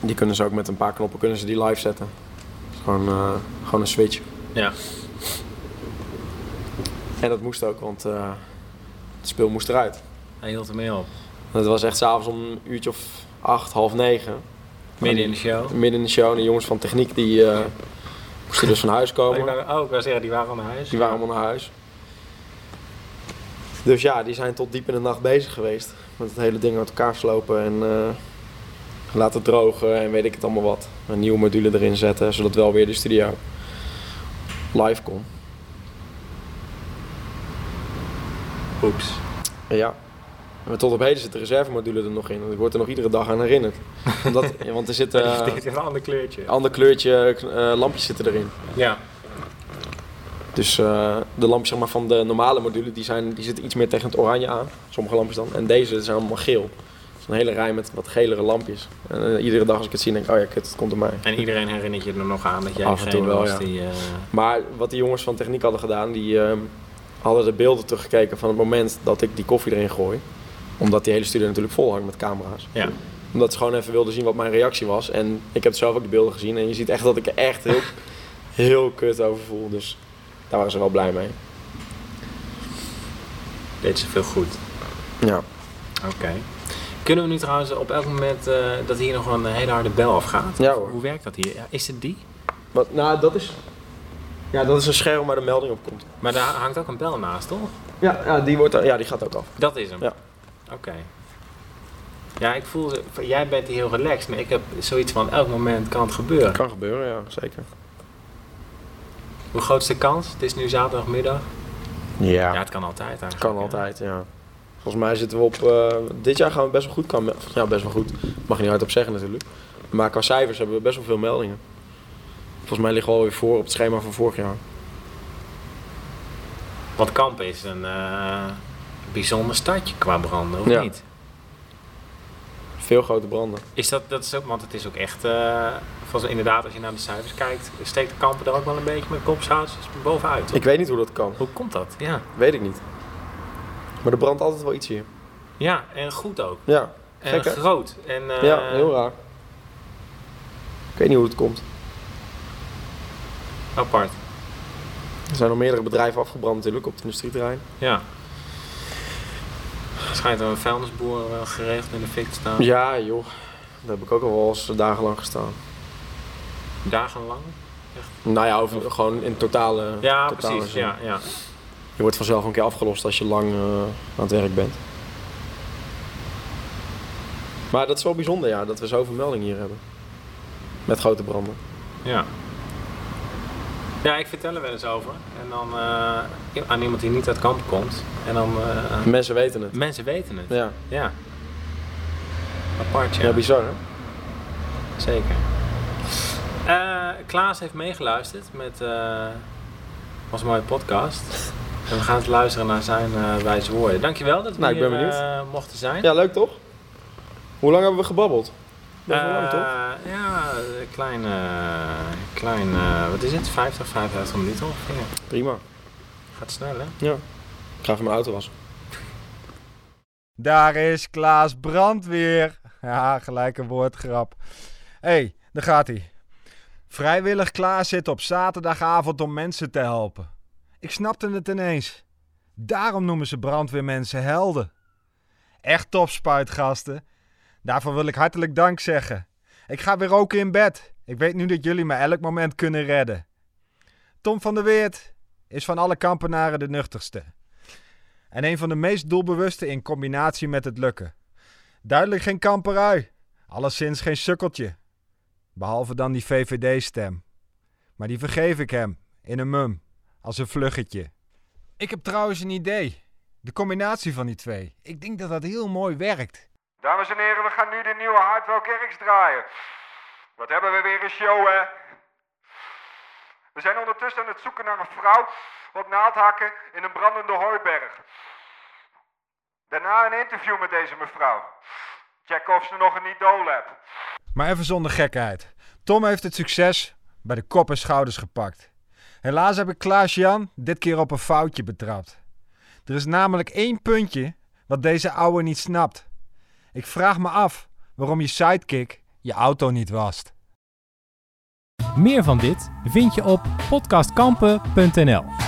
S1: die kunnen ze ook met een paar knoppen kunnen ze die live zetten. Dus gewoon, eh, gewoon een switch.
S2: Ja.
S1: En dat moest ook, want eh, het speel moest eruit.
S2: Hij hield ermee op.
S1: En Het was echt s'avonds om een uurtje of acht, half negen.
S2: Midden in de show.
S1: Midden in de show. En de jongens van techniek die eh, moesten dus van huis
S2: Oh, ik
S1: komen.
S2: wou, oh, ik wou zeggen, die waren al naar huis.
S1: Die waren allemaal naar huis. Dus ja, die zijn tot diep in de nacht bezig geweest. Met het hele ding uit elkaar slopen en eh, laten drogen en weet ik het allemaal wat. Een nieuwe module erin zetten, zodat wel weer de studio live kon.
S2: Oeps.
S1: En ja. Maar tot op heden zit de reservemodule er nog in. want Ik word er nog iedere dag aan herinnerd. Omdat, ja, want er zit
S2: Maar die
S1: eh,
S2: deed een ander kleurtje.
S1: een ander kleurtje eh, lampjes zitten erin.
S2: Ja.
S1: Dus eh, de lampjes zeg maar, van de normale module die zijn, die zitten iets meer tegen het oranje aan. Sommige lampjes dan. En deze zijn allemaal geel. Zo'n hele rij met wat gelere lampjes. En eh, iedere dag als ik het zie, denk ik, oh ja, kut, het komt door mij.
S2: En iedereen herinnert je er nog aan dat jij
S1: Af en toe
S2: degene
S1: wel,
S2: was
S1: ja.
S2: die... eh,
S1: Maar wat die jongens van techniek hadden gedaan, die ehm, hadden de beelden teruggekeken van het moment dat ik die koffie erin gooi. Omdat die hele studio natuurlijk vol hangt met camera's.
S2: ja.
S1: Omdat ze gewoon even wilden zien wat mijn reactie was. En ik heb zelf ook de beelden gezien en je ziet echt dat ik er echt heel, heel kut over voel. Dus daar waren ze wel blij mee.
S2: deed ze veel goed.
S1: Ja.
S2: Oké. Kunnen we nu trouwens op elk moment eh, dat hier nog een hele harde bel afgaat?
S1: Ja, hoor.
S2: Hoe werkt dat hier? Ja, Is het die?
S1: Wat, nou, dat is, ja, dat is een scherm waar de melding op komt.
S2: Maar daar hangt ook een bel naast, toch?
S1: Ja, ja, die, wordt, ja die gaat ook af.
S2: Dat is hem.
S1: Ja.
S2: Oké. Ja, ik voel, jij bent hier heel relaxed, maar ik heb zoiets van elk moment kan het gebeuren.
S1: Kan gebeuren, ja, zeker.
S2: Hoe groot is de kans? Het is nu zaterdagmiddag. Ja,
S1: Ja,
S2: het kan altijd eigenlijk.
S1: kan
S2: hè?
S1: altijd, ja. Volgens mij zitten we op, eh, dit jaar gaan we best wel goed, kan, ja best wel goed, mag je niet hardop zeggen natuurlijk. Maar qua cijfers hebben we best wel veel meldingen. Volgens mij liggen we alweer voor op het schema van vorig jaar.
S2: Want Kamp is een eh, bijzonder stadje qua branden, of
S1: Ja.
S2: niet?
S1: Veel grote branden.
S2: Is dat, dat is ook, want het is ook echt, eh, volgens mij inderdaad als je naar de cijfers kijkt, steekt Kampen er ook wel een beetje met kopshuis bovenuit.
S1: Ik weet niet hoe dat kan,
S2: Hoe komt dat? Ja.
S1: weet ik niet. Maar er brandt altijd wel iets hier.
S2: Ja, en goed ook.
S1: Ja,
S2: En
S1: Gek, hè?
S2: groot. En, eh,
S1: ja heel raar. Ik weet niet hoe het komt.
S2: Apart.
S1: Er zijn al meerdere bedrijven afgebrand natuurlijk op het industrieterrein.
S2: Ja. Schijnt er een vuilnisboer wel geregeld in de fik te staan.
S1: Ja joh, daar heb ik ook al wel eens dagenlang gestaan.
S2: Dagenlang.
S1: Nou ja, over, gewoon in totale.
S2: Ja,
S1: totale
S2: precies.
S1: zin.
S2: Ja, ja.
S1: Je wordt vanzelf een keer afgelost als je lang eh, aan het werk bent. Maar dat is wel bijzonder, ja, dat we zoveel meldingen hier hebben. Met grote branden.
S2: Ja. Ja, ik vertel er wel eens over. En dan eh, aan iemand die niet uit kamp komt. En dan... eh,
S1: Mensen weten het.
S2: mensen weten het.
S1: Ja,
S2: Ja. Apart, ja.
S1: ja. bizar hè?
S2: Zeker. Eh, Klaas heeft meegeluisterd met eh onze mooie podcast. En we gaan het luisteren naar zijn eh, wijze woorden. Dankjewel dat we
S1: Nou, ik ben
S2: hier,
S1: benieuwd.
S2: eh, mochten zijn.
S1: Ja, leuk toch? Hoe lang hebben we gebabbeld? Best wel lang
S2: Eh,
S1: toch?
S2: ja, een klein, eh, klein eh, wat is het? 50, 55 minuten ongeveer.
S1: Prima.
S2: Gaat snel, hè?
S1: Ja. Ik ga even mijn auto wassen.
S3: Daar is Klaas Brandweer. Ja, gelijk een woordgrap. Hé, hey, daar gaat hij. Vrijwillig Klaas zit op zaterdagavond om mensen te helpen. Ik snapte het ineens. Daarom noemen ze brandweermensen helden. Echt topspuit, gasten. Daarvoor wil ik hartelijk dank zeggen. Ik ga weer roken in bed. Ik weet nu dat jullie me elk moment kunnen redden. Tom van der Weert is van alle kampenaren de nuchterste en een van de meest doelbewuste in combinatie met het lukken. Duidelijk geen kamperui, alleszins geen sukkeltje. Behalve dan die VVD-stem. Maar die vergeef ik hem, in een mum, als een vluggetje. Ik heb trouwens een idee. De combinatie van die twee. Ik denk dat dat heel mooi werkt.
S4: Dames en heren, we gaan nu de nieuwe Hardwell Kerks draaien. Wat hebben we weer een show, hè? We zijn ondertussen aan het zoeken naar een vrouw op naaldhakken in een brandende hooiberg. Daarna een interview met deze mevrouw. Check of ze nog een idool hebt.
S3: Maar even zonder gekheid. Tom heeft het succes bij de kop en schouders gepakt. Helaas heb ik Klaas-Jan dit keer op een foutje betrapt. Er is namelijk één puntje wat deze ouwe niet snapt. Ik vraag me af waarom je sidekick je auto niet wast.
S5: Meer van dit vind je op podcastkampen.nl.